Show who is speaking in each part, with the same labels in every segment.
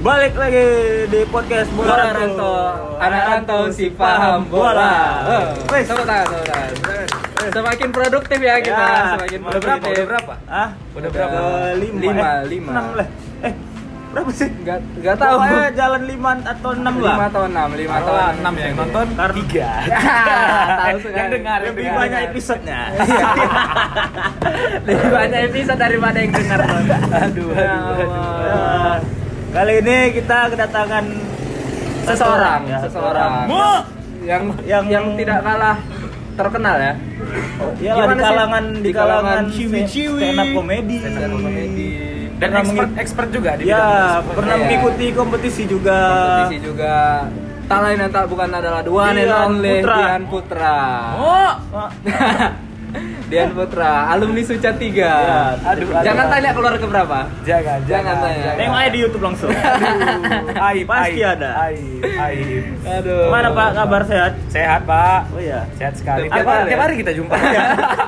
Speaker 1: Balik lagi di podcast Bola
Speaker 2: Bola Rantau, anak rantau si paham bola. Eh,
Speaker 1: Wes.
Speaker 2: Tepuk tangan, tepuk tangan. Semakin produktif ya kita, semakin
Speaker 1: udah berapa? Udah berapa? Hah?
Speaker 2: Udah berapa?
Speaker 1: Lima,
Speaker 2: Lima,
Speaker 1: eh,
Speaker 2: lima.
Speaker 1: Enam lah. Eh, berapa sih?
Speaker 2: Enggak enggak tahu.
Speaker 1: Pokoknya jalan lima atau enam lah.
Speaker 2: Lima atau enam, lima atau
Speaker 3: Taruhlah enam yang nonton
Speaker 1: Karena-
Speaker 3: tiga.
Speaker 2: Tahu
Speaker 3: Yang
Speaker 2: sekali.
Speaker 3: dengar, yang
Speaker 1: Lebih
Speaker 3: dengar.
Speaker 1: banyak episodenya.
Speaker 2: Lebih banyak episode daripada yang dengar. Ton.
Speaker 3: Aduh, aduh,
Speaker 2: Ya
Speaker 3: aduh.
Speaker 2: Allah.
Speaker 1: Kali ini kita kedatangan
Speaker 2: Seseorang,
Speaker 1: ya,
Speaker 2: seseorang.
Speaker 3: Mu!
Speaker 2: Yang yang
Speaker 1: Yang-
Speaker 2: yang tidak kalah terkenal ya.
Speaker 1: Iya lah,
Speaker 2: Gimana
Speaker 1: di
Speaker 2: sih?
Speaker 1: kalangan di
Speaker 2: Di kalangan
Speaker 1: kalangan
Speaker 3: ciwi-ciwi.
Speaker 1: stand up komedi.
Speaker 2: Stand up comedy.
Speaker 3: Dan
Speaker 1: Pernah
Speaker 3: expert,
Speaker 1: mengik-
Speaker 3: expert juga di
Speaker 1: Ya,
Speaker 3: bidang e-sport.
Speaker 1: pernah
Speaker 2: Iya.
Speaker 1: mengikuti kompetisi juga.
Speaker 2: Kompetisi juga tak lain dan tak bukan adalah dua and
Speaker 1: Dian
Speaker 2: only
Speaker 1: Putra.
Speaker 2: Dian Putra.
Speaker 3: Oh,
Speaker 1: Ah,
Speaker 2: Dian Putra, alumni Suca 3.
Speaker 1: Ya,
Speaker 2: aduh,
Speaker 1: aduh.
Speaker 2: jangan tanya keluar ke berapa.
Speaker 3: jangan,
Speaker 2: Jangan
Speaker 3: jangan,
Speaker 2: tanya.
Speaker 1: Tengok aja di YouTube langsung.
Speaker 3: Aduh, aib,
Speaker 1: Pasti
Speaker 3: aib,
Speaker 1: ada.
Speaker 3: Aib, aib.
Speaker 2: Aduh.
Speaker 1: Gimana Pak kabar sehat?
Speaker 3: Sehat Pak,
Speaker 1: Oh iya.
Speaker 3: sehat sekali.
Speaker 2: Tiap
Speaker 3: Tiap,
Speaker 2: hari ya?
Speaker 3: tiap hari kita jumpa.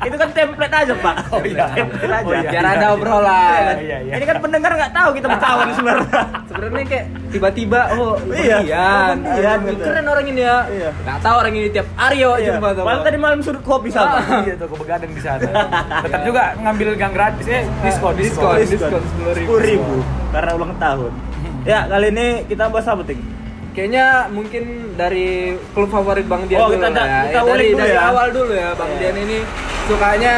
Speaker 1: Itu kan template aja Pak.
Speaker 3: Oh iya.
Speaker 1: Template aja.
Speaker 3: Oh iya.
Speaker 2: Biar ada obrolan.
Speaker 3: Iya, iya.
Speaker 1: Ini kan pendengar nggak tahu kita bertawan sebenarnya.
Speaker 2: Sebenarnya kayak tiba-tiba oh
Speaker 1: Iya,
Speaker 2: Dian,
Speaker 1: oh, Dian,
Speaker 2: aduh,
Speaker 1: gitu.
Speaker 2: keren orang ini ya.
Speaker 1: Iya.
Speaker 2: Nggak tahu orang ini tiap hari yo
Speaker 1: Iya.
Speaker 2: Oh, jumpa tuh.
Speaker 1: Malah tadi malam sudut kopi sama.
Speaker 3: Iya tuh, aku begadang di sana. Tetap juga ngambil gang gratis eh diskon, Iya. diskon.
Speaker 2: Diskon.
Speaker 1: Sepuluh ribu karena ulang tahun. Ya kali ini kita bahas apa ting?
Speaker 2: Kayaknya mungkin dari klub favorit Bang Dian
Speaker 1: Oh,
Speaker 2: dulu
Speaker 1: kita
Speaker 2: lah
Speaker 1: da-
Speaker 2: ya.
Speaker 1: kita
Speaker 2: Ya, dari,
Speaker 1: ulik dulu
Speaker 2: dari
Speaker 1: ya.
Speaker 2: awal dulu ya Bang
Speaker 1: Iya.
Speaker 2: Dian ini sukanya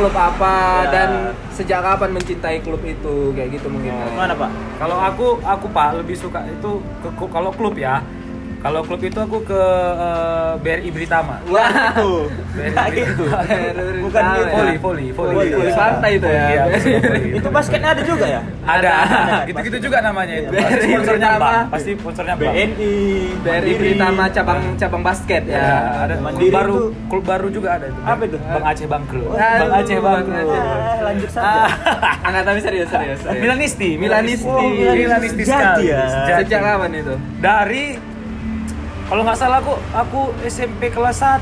Speaker 2: klub apa
Speaker 1: Ya.
Speaker 2: dan sejak kapan mencintai klub itu kayak gitu mungkin.
Speaker 1: Mana Pak?
Speaker 3: Kalau aku, aku Pak lebih suka itu ke ku- kalau klub ya. Kalau klub itu aku ke eh, BRI Britama.
Speaker 2: Wah.
Speaker 1: Itu. Nggak gitu. Bukan
Speaker 2: Tahu ya.
Speaker 3: Voli, voli, voli.
Speaker 2: Voli, voli
Speaker 1: Iya.
Speaker 2: santai itu ya.
Speaker 3: Iya, aku suka voli.
Speaker 1: Itu basketnya ada juga ya?
Speaker 3: ada
Speaker 1: Ada.
Speaker 3: gitu-gitu juga namanya itu
Speaker 2: Iya.
Speaker 3: pasti sponsornya
Speaker 2: Pertama,
Speaker 3: bang pasti sponsornya bang
Speaker 1: BNI,
Speaker 2: Dari
Speaker 1: Mandiri.
Speaker 2: Britama cabang cabang basket
Speaker 3: ya
Speaker 2: ya.
Speaker 3: ada klub
Speaker 1: Mandiri
Speaker 3: baru
Speaker 1: itu.
Speaker 3: klub baru juga ada itu
Speaker 1: Apa itu?
Speaker 3: bang Aceh Bangkrut
Speaker 1: Aduh,
Speaker 3: bang Aceh
Speaker 2: Bang
Speaker 3: Bangkrut
Speaker 2: Aceh.
Speaker 1: Ah, lanjut saja.
Speaker 2: Ah, nggak tapi serius serius. serius.
Speaker 3: Eh, Milanisti
Speaker 2: Milanisti.
Speaker 1: Oh, Milanisti
Speaker 3: Milanisti
Speaker 1: sejati
Speaker 3: sekali
Speaker 1: ya.
Speaker 3: sejati.
Speaker 2: Sejak kapan itu?
Speaker 3: dari kalau nggak salah aku aku SMP kelas 1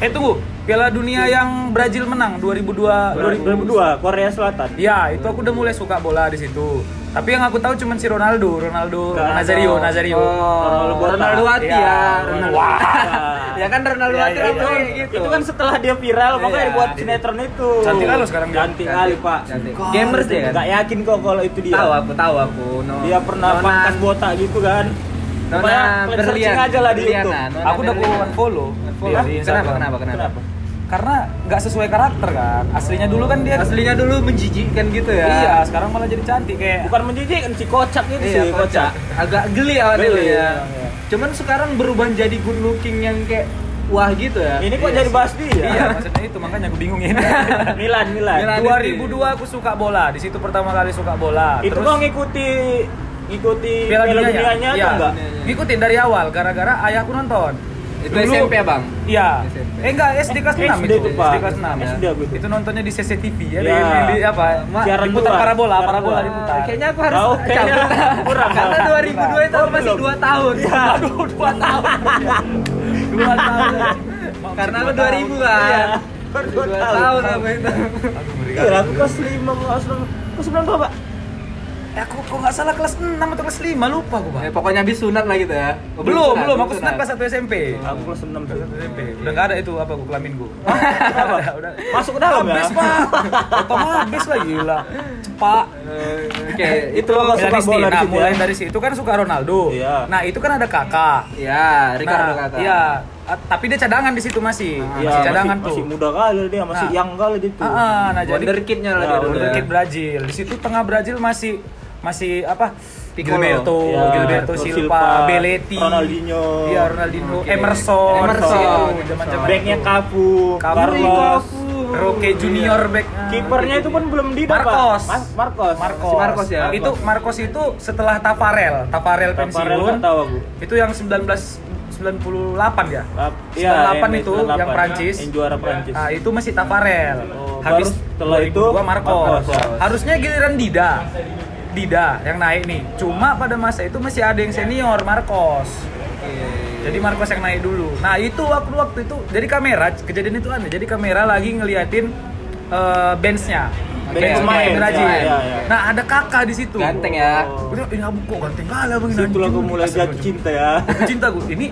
Speaker 3: eh tunggu Piala Dunia
Speaker 2: Iya.
Speaker 3: yang Brazil menang 2002
Speaker 1: 2002 Korea Selatan.
Speaker 3: Ya, itu aku udah mulai suka bola di situ. Tapi yang aku tahu cuma si Ronaldo, Ronaldo,
Speaker 1: Ronaldo.
Speaker 3: Nazario, Nazario.
Speaker 2: Oh,
Speaker 1: Ronaldo
Speaker 2: Ronaldo
Speaker 1: Botak.
Speaker 2: Wati
Speaker 3: Iya.
Speaker 2: ya. Ronaldo.
Speaker 3: Wah.
Speaker 2: ya kan Ronaldo
Speaker 3: Iya,
Speaker 2: Wati
Speaker 3: iya,
Speaker 2: kan
Speaker 3: iya.
Speaker 2: kayak gitu.
Speaker 1: Itu kan setelah dia viral makanya
Speaker 2: Iya.
Speaker 1: dibuat sinetron itu.
Speaker 3: Cantik lah lo sekarang dia.
Speaker 1: Cantik kali
Speaker 2: Cantik,
Speaker 1: Pak.
Speaker 2: cantik.
Speaker 1: Kok
Speaker 2: Gamers dia kan?
Speaker 1: Nggak yakin kok kalau itu dia.
Speaker 2: tahu aku tahu aku. No-
Speaker 1: Dia pernah
Speaker 2: Nona-
Speaker 1: pangkas botak gitu kan.
Speaker 2: Nona
Speaker 1: Pokoknya kalian
Speaker 2: Berlian.
Speaker 1: searching aja lah di
Speaker 2: Berliana,
Speaker 1: YouTube.
Speaker 2: Nona
Speaker 3: Aku udah
Speaker 2: Berliana.
Speaker 3: aku follow.
Speaker 2: Unfollow.
Speaker 3: iya,
Speaker 2: Kenapa, kenapa, kenapa?
Speaker 1: Kenapa?
Speaker 3: Karena nggak sesuai karakter kan. Aslinya dulu kan dia
Speaker 2: Aslinya dulu menjijikkan gitu ya.
Speaker 3: Iya, sekarang malah jadi cantik kayak.
Speaker 1: Bukan menjijikkan si kocak itu
Speaker 2: Iya,
Speaker 1: sih, kocak.
Speaker 2: kocak. Agak geli awalnya
Speaker 1: Geli,
Speaker 2: dulu ya.
Speaker 1: iya, iya.
Speaker 2: Cuman sekarang berubah jadi good looking yang kayak wah gitu ya.
Speaker 1: Ini kok
Speaker 2: Iya
Speaker 1: jadi
Speaker 2: sih.
Speaker 1: bahas dia?
Speaker 3: Iya, maksudnya itu makanya aku bingung ini.
Speaker 1: Milan, Milan.
Speaker 2: Milan.
Speaker 3: 2002 aku suka bola. Di situ pertama kali suka bola.
Speaker 1: Itu kok ngikuti ngikuti
Speaker 3: Ah, Piala Dunianya,
Speaker 1: atau
Speaker 3: Iya.
Speaker 1: enggak?
Speaker 3: Ngikutin dari awal gara-gara ayahku nonton.
Speaker 2: Itu SMP ya, Bang?
Speaker 3: Iya.
Speaker 2: SMP.
Speaker 3: Eh enggak, SD kelas
Speaker 1: Eh,
Speaker 3: 6
Speaker 1: SD itu, Pak.
Speaker 3: SD kelas 6. ya.
Speaker 1: SD aku itu.
Speaker 3: Itu nontonnya di CCTV
Speaker 1: Iya.
Speaker 3: ya, di, di apa? Ma,
Speaker 1: Siaran
Speaker 3: diputar
Speaker 1: luar.
Speaker 3: parabola,
Speaker 1: Siaran
Speaker 3: parabola
Speaker 1: luar.
Speaker 3: diputar.
Speaker 2: Ah, Kayaknya aku harus
Speaker 1: Tahu, kayaknya
Speaker 2: cabut.
Speaker 1: kurang.
Speaker 2: Karena 2002 itu
Speaker 1: Oh,
Speaker 2: aku masih
Speaker 1: belum.
Speaker 2: 2 tahun.
Speaker 1: Iya.
Speaker 2: Aduh, 2 tahun.
Speaker 3: Dua tahun.
Speaker 2: Karena
Speaker 3: Dua
Speaker 2: aku
Speaker 3: tahun.
Speaker 2: 2000
Speaker 3: Iya.
Speaker 2: kan.
Speaker 1: Baru
Speaker 2: 2
Speaker 1: Iya. dua
Speaker 2: tahun apa itu.
Speaker 3: Aduh, ngeri
Speaker 1: Iya,
Speaker 3: kali.
Speaker 1: aku kelas 5 kelas 9. Kelas 9 Pak.
Speaker 3: Eh, aku kok nggak salah kelas 6 atau kelas 5 lupa aku
Speaker 2: Ya,
Speaker 1: Eh,
Speaker 3: pak
Speaker 2: pokoknya habis sunat lah gitu ya. Oh,
Speaker 3: belum belum aku senang kelas 1 SMP
Speaker 1: Aku kelas 6 tuh.
Speaker 3: SMP udah nggak ada itu apa gue kelamin gue
Speaker 1: Apa?
Speaker 3: udah
Speaker 1: Masuk ke dalam ya?
Speaker 3: habis pak otom habis lah gila cepak
Speaker 2: Eh, Oke,
Speaker 1: Itu
Speaker 2: itu
Speaker 1: lo suka bola
Speaker 3: Milanisti.
Speaker 1: di
Speaker 3: nah
Speaker 1: situ
Speaker 3: mulai
Speaker 1: ya?
Speaker 3: dari situ kan suka Ronaldo
Speaker 1: Iya.
Speaker 3: nah itu kan ada kakak
Speaker 2: ya Ricardo
Speaker 3: nah,
Speaker 2: kata.
Speaker 3: iya Ah, tapi dia cadangan di situ masih
Speaker 2: Ah,
Speaker 3: masih
Speaker 1: Iya,
Speaker 3: cadangan
Speaker 1: masih,
Speaker 3: tuh
Speaker 1: Masih muda kali dia, masih
Speaker 3: Nah.
Speaker 1: young kali gitu.
Speaker 3: Ah, ah, nah jadi
Speaker 2: Wonderkidnya lah
Speaker 1: Ya,
Speaker 2: dia dulu ya.
Speaker 3: Wonderkid Brazil. Di situ tengah Brazil masih masih apa?
Speaker 2: Piccolo.
Speaker 3: Gilberto,
Speaker 1: Ya,
Speaker 3: Oh, Gilberto
Speaker 1: Silva,
Speaker 3: Silva, Belletti,
Speaker 1: Ronaldinho.
Speaker 3: Iya, Ronaldinho,
Speaker 2: Oke.
Speaker 3: Emerson,
Speaker 2: Emerson.
Speaker 3: Itu, zaman-zaman
Speaker 1: Backnya
Speaker 3: itu.
Speaker 1: Kafu, Carlos,
Speaker 3: Carlos, Roque Junior back.
Speaker 1: kipernya itu pun belum di Pak.
Speaker 3: Marcos.
Speaker 1: Mas- Marcos.
Speaker 3: Marcos.
Speaker 2: Si Marcos ya?
Speaker 3: Itu Marcos itu setelah Tafarel, Tafarel
Speaker 1: Tafarel
Speaker 3: pensiun.
Speaker 1: nggak tahu aku.
Speaker 3: Itu yang 1998 ya?
Speaker 1: Lap- iya,
Speaker 3: 98
Speaker 1: yang
Speaker 3: itu
Speaker 1: 98.
Speaker 3: yang Prancis.
Speaker 1: Yang juara Prancis.
Speaker 3: Ah, itu masih Tafarel.
Speaker 1: Oh,
Speaker 3: Habis
Speaker 1: baru setelah itu
Speaker 3: 2002 Marcos.
Speaker 1: Marcos. ya.
Speaker 3: Harusnya giliran Dida. Dida yang naik nih. Cuma pada masa itu masih ada yang senior Marcos. Jadi Marcos yang naik dulu. Nah itu waktu waktu itu jadi kamera kejadian itu aneh. Jadi kamera lagi ngeliatin eh, bench-nya.
Speaker 1: Back
Speaker 3: Back
Speaker 1: to
Speaker 3: pemain,
Speaker 1: mind.
Speaker 3: Beraji.
Speaker 1: Iya, iya, iya.
Speaker 3: Nah, ada kakak di situ.
Speaker 2: Ganteng ya.
Speaker 3: Gue bilang, ini abu kok ganteng kalah bang.
Speaker 1: Situlah aku mulai jatuh cinta
Speaker 3: Iya.
Speaker 1: ya.
Speaker 3: cinta gue ini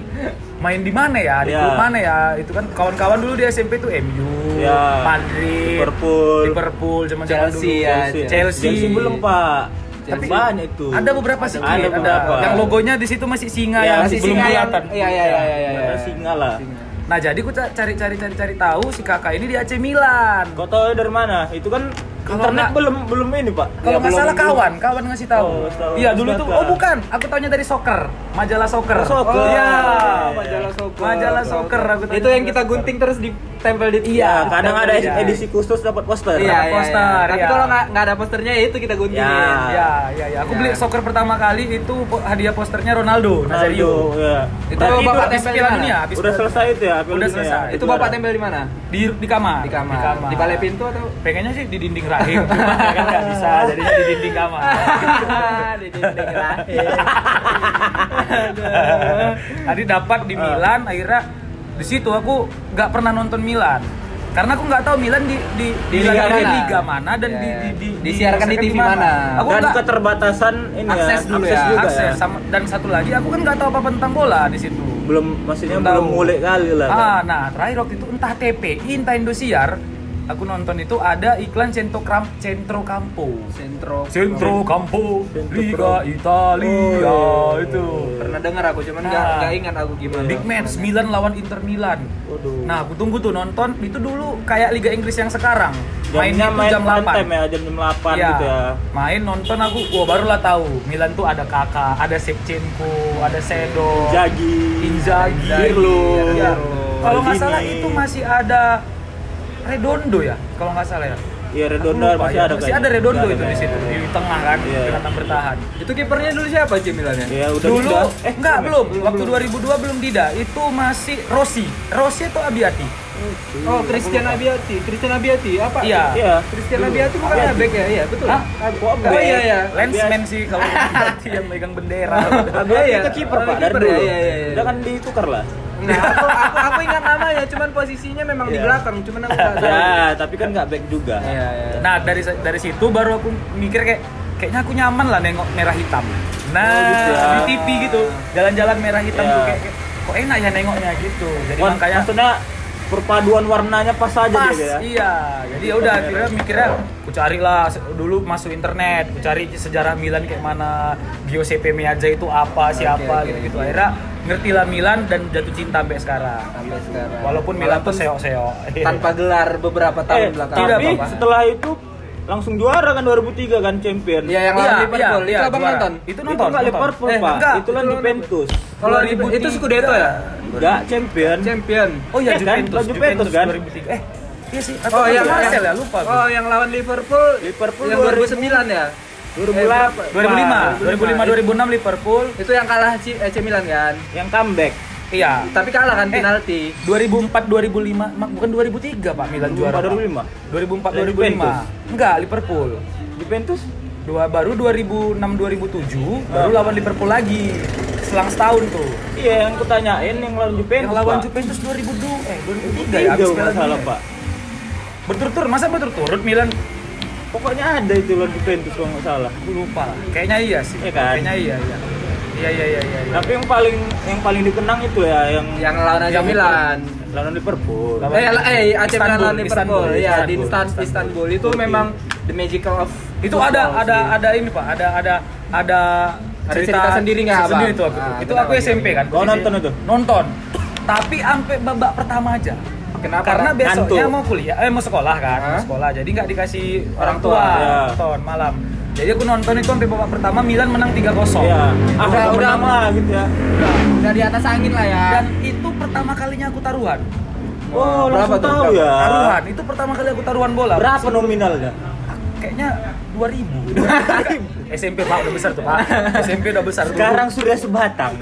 Speaker 3: main di mana ya di
Speaker 1: Iya.
Speaker 3: klub mana ya itu kan kawan-kawan dulu di SMP tuh MU
Speaker 1: Iya.
Speaker 3: Madrid
Speaker 1: Liverpool.
Speaker 3: Liverpool zaman zaman dulu
Speaker 2: Chelsea, ya.
Speaker 1: Chelsea.
Speaker 3: Chelsea.
Speaker 1: Chelsea belum pak.
Speaker 2: Tapi
Speaker 1: banyak tuh.
Speaker 3: ada beberapa sih
Speaker 1: Ada
Speaker 3: Ki,
Speaker 1: beberapa.
Speaker 3: yang logonya di situ masih singa
Speaker 1: Iya,
Speaker 3: yang
Speaker 1: masih
Speaker 3: belum
Speaker 1: singa yang-
Speaker 3: kelihatan
Speaker 2: Iya iya iya iya iya.
Speaker 1: Ada singa lah.
Speaker 3: nah jadi gue cari cari cari cari tahu si kakak ini di AC Milan
Speaker 1: Kau tahu dari mana? Itu kan
Speaker 3: Kalau
Speaker 1: internet
Speaker 3: nggak-
Speaker 1: belum belum ini pak.
Speaker 3: kalau
Speaker 2: Ya,
Speaker 3: nggak
Speaker 2: belum-
Speaker 3: salah
Speaker 2: belum.
Speaker 3: kawan kawan ngasih tahu
Speaker 1: Oh, ngasih tahu.
Speaker 3: iya dulu tuh
Speaker 1: Siapa?
Speaker 3: oh bukan aku taunya dari soccer majalah soccer
Speaker 1: Oh, soccer.
Speaker 3: iya
Speaker 1: Oh,
Speaker 2: Majalah soccer.
Speaker 3: majalah soccer aku taunya
Speaker 2: Itu yang
Speaker 3: dari
Speaker 2: kita
Speaker 3: soccer.
Speaker 2: gunting terus ditempel di
Speaker 1: Iya, kadang ada
Speaker 3: Iya.
Speaker 1: edisi khusus dapat poster.
Speaker 2: Iya, iya, iya.
Speaker 3: poster,
Speaker 2: Tapi
Speaker 3: iya.
Speaker 2: kalau nggak nggak ada posternya ya itu kita guntingin.
Speaker 1: Iya.
Speaker 3: Ya, ya, ya. Aku
Speaker 2: Ya.
Speaker 3: beli soccer pertama kali itu po- hadiah posternya Ronaldo, Nazario.
Speaker 1: Ronaldo, ya.
Speaker 2: Itu
Speaker 1: Berarti
Speaker 2: bapak
Speaker 3: Habis
Speaker 2: tempel di
Speaker 3: Piala
Speaker 2: mana?
Speaker 3: Dunia, habis
Speaker 1: udah
Speaker 3: Piala
Speaker 1: selesai itu ya? Piala
Speaker 3: Udah
Speaker 1: Dunia ya?
Speaker 3: selesai.
Speaker 2: Itu
Speaker 1: Juara.
Speaker 2: bapak tempel di mana?
Speaker 3: Dunia. di Ah, di kamar.
Speaker 2: Di kamar. Di, balai pintu atau?
Speaker 3: Pengennya sih di dinding rahim, cuma ya kan nggak bisa, jadinya di dinding kamar.
Speaker 2: di dinding lahir.
Speaker 3: Tadi dapat
Speaker 2: Ah.
Speaker 3: di Milan, akhirnya di situ aku nggak pernah nonton Milan. Karena aku nggak tahu Milan di di
Speaker 2: Di
Speaker 3: Milan
Speaker 2: liga
Speaker 3: ada
Speaker 2: mana?
Speaker 3: liga mana dan
Speaker 2: Ya,
Speaker 3: di,
Speaker 2: ya.
Speaker 3: di, di,
Speaker 2: Disiarkan di TV
Speaker 3: disiarkan
Speaker 2: mana?
Speaker 3: Aku
Speaker 1: dan
Speaker 3: nggak-
Speaker 1: keterbatasan ini
Speaker 2: Akses
Speaker 1: ya,
Speaker 2: dulu
Speaker 1: akses
Speaker 2: ya,
Speaker 1: juga
Speaker 3: akses
Speaker 1: ya.
Speaker 3: sama- dan satu lagi aku kan nggak tahu apa-apa tentang bola di situ.
Speaker 1: Belum maksudnya
Speaker 3: Belum
Speaker 1: belum
Speaker 3: tahu.
Speaker 1: mulai kali lah. kan.
Speaker 3: Ah, nah terakhir waktu itu entah TPI, entah Indosiar, aku nonton itu ada iklan Centro Kram, Centro Campo.
Speaker 2: Sentro.
Speaker 3: Centro Campo,
Speaker 1: Centro
Speaker 3: Liga
Speaker 2: Oh,
Speaker 1: Campo.
Speaker 2: iya.
Speaker 3: Italia
Speaker 1: Oh.
Speaker 3: itu.
Speaker 2: Pernah dengar aku cuman nggak
Speaker 3: Nah.
Speaker 2: nggak ingat aku gimana. Iya.
Speaker 3: Big match Milan lawan Inter Milan.
Speaker 1: Waduh.
Speaker 3: Nah, aku tunggu tuh nonton itu dulu kayak Liga Inggris yang sekarang.
Speaker 1: Jamnya
Speaker 3: Mainnya tuh
Speaker 1: main
Speaker 3: jam 8.
Speaker 1: time ya, jam jam 8
Speaker 3: Iya,
Speaker 1: gitu ya.
Speaker 3: Main nonton aku, wah barulah tahu Milan tuh ada Kakak, ada Shevchenko, ada Sedo.
Speaker 1: Jagi.
Speaker 3: Inzaghi,
Speaker 1: Pirlo.
Speaker 3: Iya. Kalau nggak
Speaker 1: Maldini.
Speaker 3: salah itu masih ada Redondo ya, kalau nggak salah ya.
Speaker 1: Iya, Redondo
Speaker 3: Aku lupa
Speaker 1: masih
Speaker 3: ya.
Speaker 1: ada
Speaker 3: Masih
Speaker 1: kayaknya.
Speaker 3: ada Redondo
Speaker 1: Masih
Speaker 3: itu
Speaker 1: ada
Speaker 3: di situ di
Speaker 1: kayaknya.
Speaker 3: tengah kan,
Speaker 1: Iya.
Speaker 3: kelihatan bertahan.
Speaker 2: Itu kipernya dulu siapa Jim Milan ya?
Speaker 1: Ya udah
Speaker 3: Dulu
Speaker 1: udah.
Speaker 3: eh enggak belum, waktu 2002 belum Dida, itu masih Rossi. Rossi atau Abiati?
Speaker 2: Oh, Christian Abiati. Christian Abiati apa?
Speaker 3: Iya.
Speaker 1: Iya.
Speaker 2: Christian Abiati bukan ya back ya? Iya, betul.
Speaker 3: Hah?
Speaker 1: Kok
Speaker 2: Oh
Speaker 1: back?
Speaker 3: ya?
Speaker 2: iya iya.
Speaker 3: Lensman sih kalau Abiati yang megang bendera.
Speaker 1: Abis
Speaker 2: iya.
Speaker 1: itu kiper
Speaker 2: Oh,
Speaker 1: Pak dari
Speaker 2: kiper,
Speaker 1: dulu.
Speaker 2: iya, iya, iya.
Speaker 1: Dia kan ditukar lah.
Speaker 2: Nah, aku, aku, aku ingat namanya, cuman posisinya memang di
Speaker 1: Iya.
Speaker 2: belakang, cuman aku nggak tahu.
Speaker 1: Ya, tapi kan nggak back juga.
Speaker 2: Iya, iya.
Speaker 3: Nah, dari dari situ baru aku mikir kayak kayaknya aku nyaman lah nengok merah hitam. Nah,
Speaker 1: Oh, gitu ya.
Speaker 3: di TV gitu, jalan-jalan merah hitam
Speaker 1: Iya.
Speaker 3: tuh kayak, kayak, kok enak ya nengoknya gitu. Jadi
Speaker 1: Wan,
Speaker 3: makanya
Speaker 1: maksudnya perpaduan warnanya pas aja
Speaker 3: pas.
Speaker 1: gitu ya.
Speaker 3: Iya. Jadi ya udah akhirnya mikirnya aku carilah se- dulu masuk internet, aku cari sejarah Milan kayak mana, Gio CP aja itu apa, siapa
Speaker 2: oke,
Speaker 3: gitu-gitu.
Speaker 2: oke.
Speaker 3: Akhirnya ngertilah Milan dan jatuh cinta sampai sekarang.
Speaker 2: Sampai sekarang.
Speaker 3: Walaupun Milan tuh
Speaker 2: Walaupun
Speaker 3: seok-seok.
Speaker 2: tanpa gelar beberapa tahun
Speaker 1: Eh,
Speaker 2: belakang.
Speaker 1: tapi
Speaker 3: apa-apa.
Speaker 1: setelah itu langsung juara kan 2003 kan champion.
Speaker 2: Iya, yang lawan
Speaker 3: Iya,
Speaker 2: Liverpool.
Speaker 3: iya,
Speaker 2: itu abang
Speaker 3: juara.
Speaker 2: nonton.
Speaker 3: Itu
Speaker 1: Itu
Speaker 3: nonton.
Speaker 1: nggak
Speaker 3: nonton.
Speaker 1: Liverpool,
Speaker 2: Eh,
Speaker 1: Pak.
Speaker 2: enggak.
Speaker 1: itu kan
Speaker 2: Itu lawan-
Speaker 1: Juventus.
Speaker 2: Kalau Liverpool- itu Scudetto ya?
Speaker 1: Enggak, champion.
Speaker 2: Champion.
Speaker 3: Oh iya
Speaker 1: Eh, kan?
Speaker 3: Juventus,
Speaker 1: Lawan Juventus, kan?
Speaker 3: 2003. Eh, iya sih.
Speaker 2: Oh, yang
Speaker 3: Marcel
Speaker 2: yang-
Speaker 3: ya lupa.
Speaker 2: Oh, yang lawan Liverpool.
Speaker 1: Liverpool
Speaker 2: yang 2009 ya?
Speaker 1: 2008.
Speaker 3: 2005, 2005, 2006 Liverpool.
Speaker 2: Itu yang kalah C- AC Milan kan?
Speaker 1: Yang comeback.
Speaker 3: Iya.
Speaker 2: Tapi kalah kan
Speaker 3: Eh.
Speaker 2: penalti.
Speaker 3: 2004 2005 Mak, bukan 2003 Pak Milan juara. Pak.
Speaker 1: 2005.
Speaker 3: 2004
Speaker 1: Dan
Speaker 3: 2005.
Speaker 1: Juventus.
Speaker 3: Enggak, Liverpool.
Speaker 1: Juventus
Speaker 3: Dua baru 2006 2007 baru lawan Liverpool lagi. Selang setahun tuh.
Speaker 1: Iya, yang kutanyain yang lawan Juventus.
Speaker 3: Yang lawan
Speaker 1: Pak.
Speaker 3: Juventus 2002 eh 2003 ya
Speaker 1: Tiga
Speaker 3: habis
Speaker 1: kalau
Speaker 3: Piala
Speaker 1: nggak salah,
Speaker 3: Dunia.
Speaker 1: Pak.
Speaker 3: Berturut-turut, masa berturut-turut Milan
Speaker 1: Pokoknya ada itu lawan Juventus kalau nggak salah.
Speaker 3: Aku lupa. Kayaknya iya sih.
Speaker 1: Iya kan?
Speaker 3: Kayaknya iya, iya. Iya, iya, iya, iya. iya.
Speaker 1: Tapi yang paling yang paling dikenang itu ya yang
Speaker 2: Yang lawan AC
Speaker 3: Yang
Speaker 2: Milan.
Speaker 1: lawan Liverpool.
Speaker 3: Lawan-
Speaker 2: Eh, eh AC Milan
Speaker 3: Istanbul,
Speaker 2: lawan Liverpool.
Speaker 3: Istanbul,
Speaker 2: Ya, di
Speaker 3: Istanbul,
Speaker 2: Istanbul, Istanbul. Itu
Speaker 1: Oke.
Speaker 2: memang the magical of
Speaker 3: itu ada
Speaker 2: football
Speaker 3: ada
Speaker 2: sih.
Speaker 3: ada ini pak ada ada ada
Speaker 2: Ada cerita sendiri nggak,
Speaker 3: sendiri
Speaker 2: Abang?
Speaker 3: itu aku tuh.
Speaker 2: Ah,
Speaker 3: itu
Speaker 2: kenapa
Speaker 3: aku
Speaker 2: dia?
Speaker 3: SMP kan
Speaker 1: Kau
Speaker 3: posisi-
Speaker 1: nonton itu?
Speaker 3: nonton tapi sampai babak pertama aja
Speaker 2: Kenapa?
Speaker 3: karena
Speaker 2: Pak?
Speaker 3: besoknya
Speaker 1: Ngantuk.
Speaker 3: mau kuliah eh mau sekolah kan
Speaker 2: Hah?
Speaker 3: mau sekolah jadi nggak dikasih orang
Speaker 2: Orang
Speaker 3: tua
Speaker 2: tua,
Speaker 1: ya.
Speaker 3: nonton malam jadi aku nonton itu sampai babak pertama Milan menang 3-0
Speaker 1: Iya.
Speaker 3: Itu
Speaker 1: Ah,
Speaker 2: Udah,
Speaker 1: udah
Speaker 2: udah.
Speaker 1: lama gitu ya.
Speaker 2: udah di atas angin lah ya.
Speaker 3: dan itu pertama kalinya aku taruhan
Speaker 1: Oh,
Speaker 2: Berapa
Speaker 1: langsung
Speaker 2: tuh?
Speaker 1: tahu ya.
Speaker 3: taruhan itu pertama kali aku taruhan bola
Speaker 1: Berapa ya? nominalnya?
Speaker 3: kayaknya 2000 SMP pak udah besar tuh pak SMP udah besar tuh.
Speaker 1: Sekarang sudah sebatang.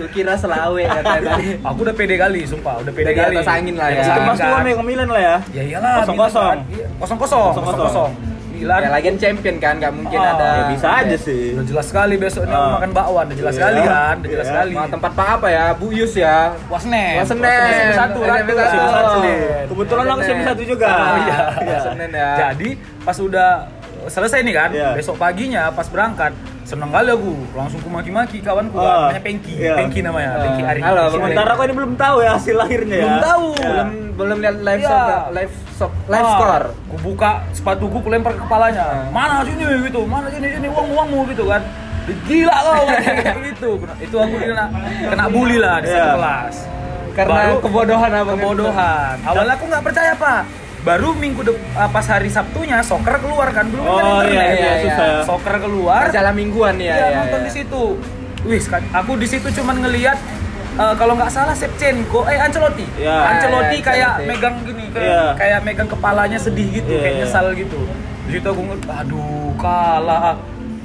Speaker 2: Kukira Selawe katanya tadi.
Speaker 3: Aku udah pede kali, sumpah, udah pede
Speaker 2: Udah di
Speaker 3: kali.
Speaker 2: atas angin lah ya.
Speaker 3: Di atas
Speaker 1: Itu
Speaker 3: angin
Speaker 1: pasti
Speaker 3: kan.
Speaker 1: Milan lah ya.
Speaker 3: Ya iyalah.
Speaker 1: Kosong-kosong.
Speaker 3: Kosong kosong. Kosong kosong.
Speaker 1: Kosong-kosong.
Speaker 3: Ini Milan.
Speaker 2: Ya, lagian champion kan, nggak mungkin
Speaker 3: Oh,
Speaker 2: ada.
Speaker 1: Ya bisa aja sih.
Speaker 3: Udah jelas sekali besoknya
Speaker 1: Ah.
Speaker 3: mau makan bakwan, udah jelas
Speaker 1: Iya.
Speaker 3: sekali kan, udah jelas
Speaker 1: Iya.
Speaker 3: sekali.
Speaker 2: Nah, tempat pak apa ya? Bu Yus ya.
Speaker 3: Wasnen.
Speaker 2: Wasnen.
Speaker 3: SMP satu
Speaker 2: SMP satu.
Speaker 3: Ratu. SMP satu.
Speaker 1: Kebetulan
Speaker 2: Bener.
Speaker 1: langsung satu juga.
Speaker 2: Oh, iya.
Speaker 1: Iya.
Speaker 2: Senin ya.
Speaker 3: Jadi pas udah selesai nih kan,
Speaker 1: Iya.
Speaker 3: besok paginya pas berangkat seneng kali aku langsung kumaki-maki kawanku kan,
Speaker 1: Ah.
Speaker 3: namanya Pengki,
Speaker 1: Iya.
Speaker 3: Pengki namanya,
Speaker 2: Ah.
Speaker 3: Pengki Ari.
Speaker 2: Halo, Bang
Speaker 1: Sementara aku ini belum tahu ya hasil lahirnya ya.
Speaker 3: Belum tahu.
Speaker 1: Ya.
Speaker 2: Belum belum lihat live
Speaker 3: Iya.
Speaker 2: shot, nggak? live shot, live
Speaker 3: Ah,
Speaker 2: score.
Speaker 3: Ku buka sepatu ku, ku lempar ke kepalanya.
Speaker 2: Ah.
Speaker 3: Mana sini gitu, mana sini sini uang uangmu gitu kan. Gila kau gitu. Itu aku kena kena bully lah di satu
Speaker 1: Iya.
Speaker 3: kelas.
Speaker 2: Karena
Speaker 3: Baru-
Speaker 2: kebodohan apa?
Speaker 3: kebodohan. Awalnya aku nggak percaya pak. Baru minggu dep- ah, pas hari Sabtunya soccer keluar kan belum ada
Speaker 1: Oh iya iya
Speaker 3: internet.
Speaker 2: Iya,
Speaker 1: susah. ya.
Speaker 3: Soccer keluar.
Speaker 2: Acara mingguan ya.
Speaker 3: Iya
Speaker 2: ya,
Speaker 3: nonton
Speaker 2: ya.
Speaker 3: di situ. Wih, sek- aku di situ cuman ngelihat eh, kalau nggak salah Shevchenko, eh Ancelotti.
Speaker 1: Iya.
Speaker 3: Ancelotti
Speaker 2: Iya,
Speaker 3: kayak
Speaker 2: Ancelotti.
Speaker 3: megang gini, kayak,
Speaker 1: Iya.
Speaker 3: kayak megang kepalanya sedih gitu,
Speaker 1: Iya,
Speaker 3: kayak
Speaker 1: iya.
Speaker 3: nyesal gitu. Di situ aku ngeliat, aduh kalah.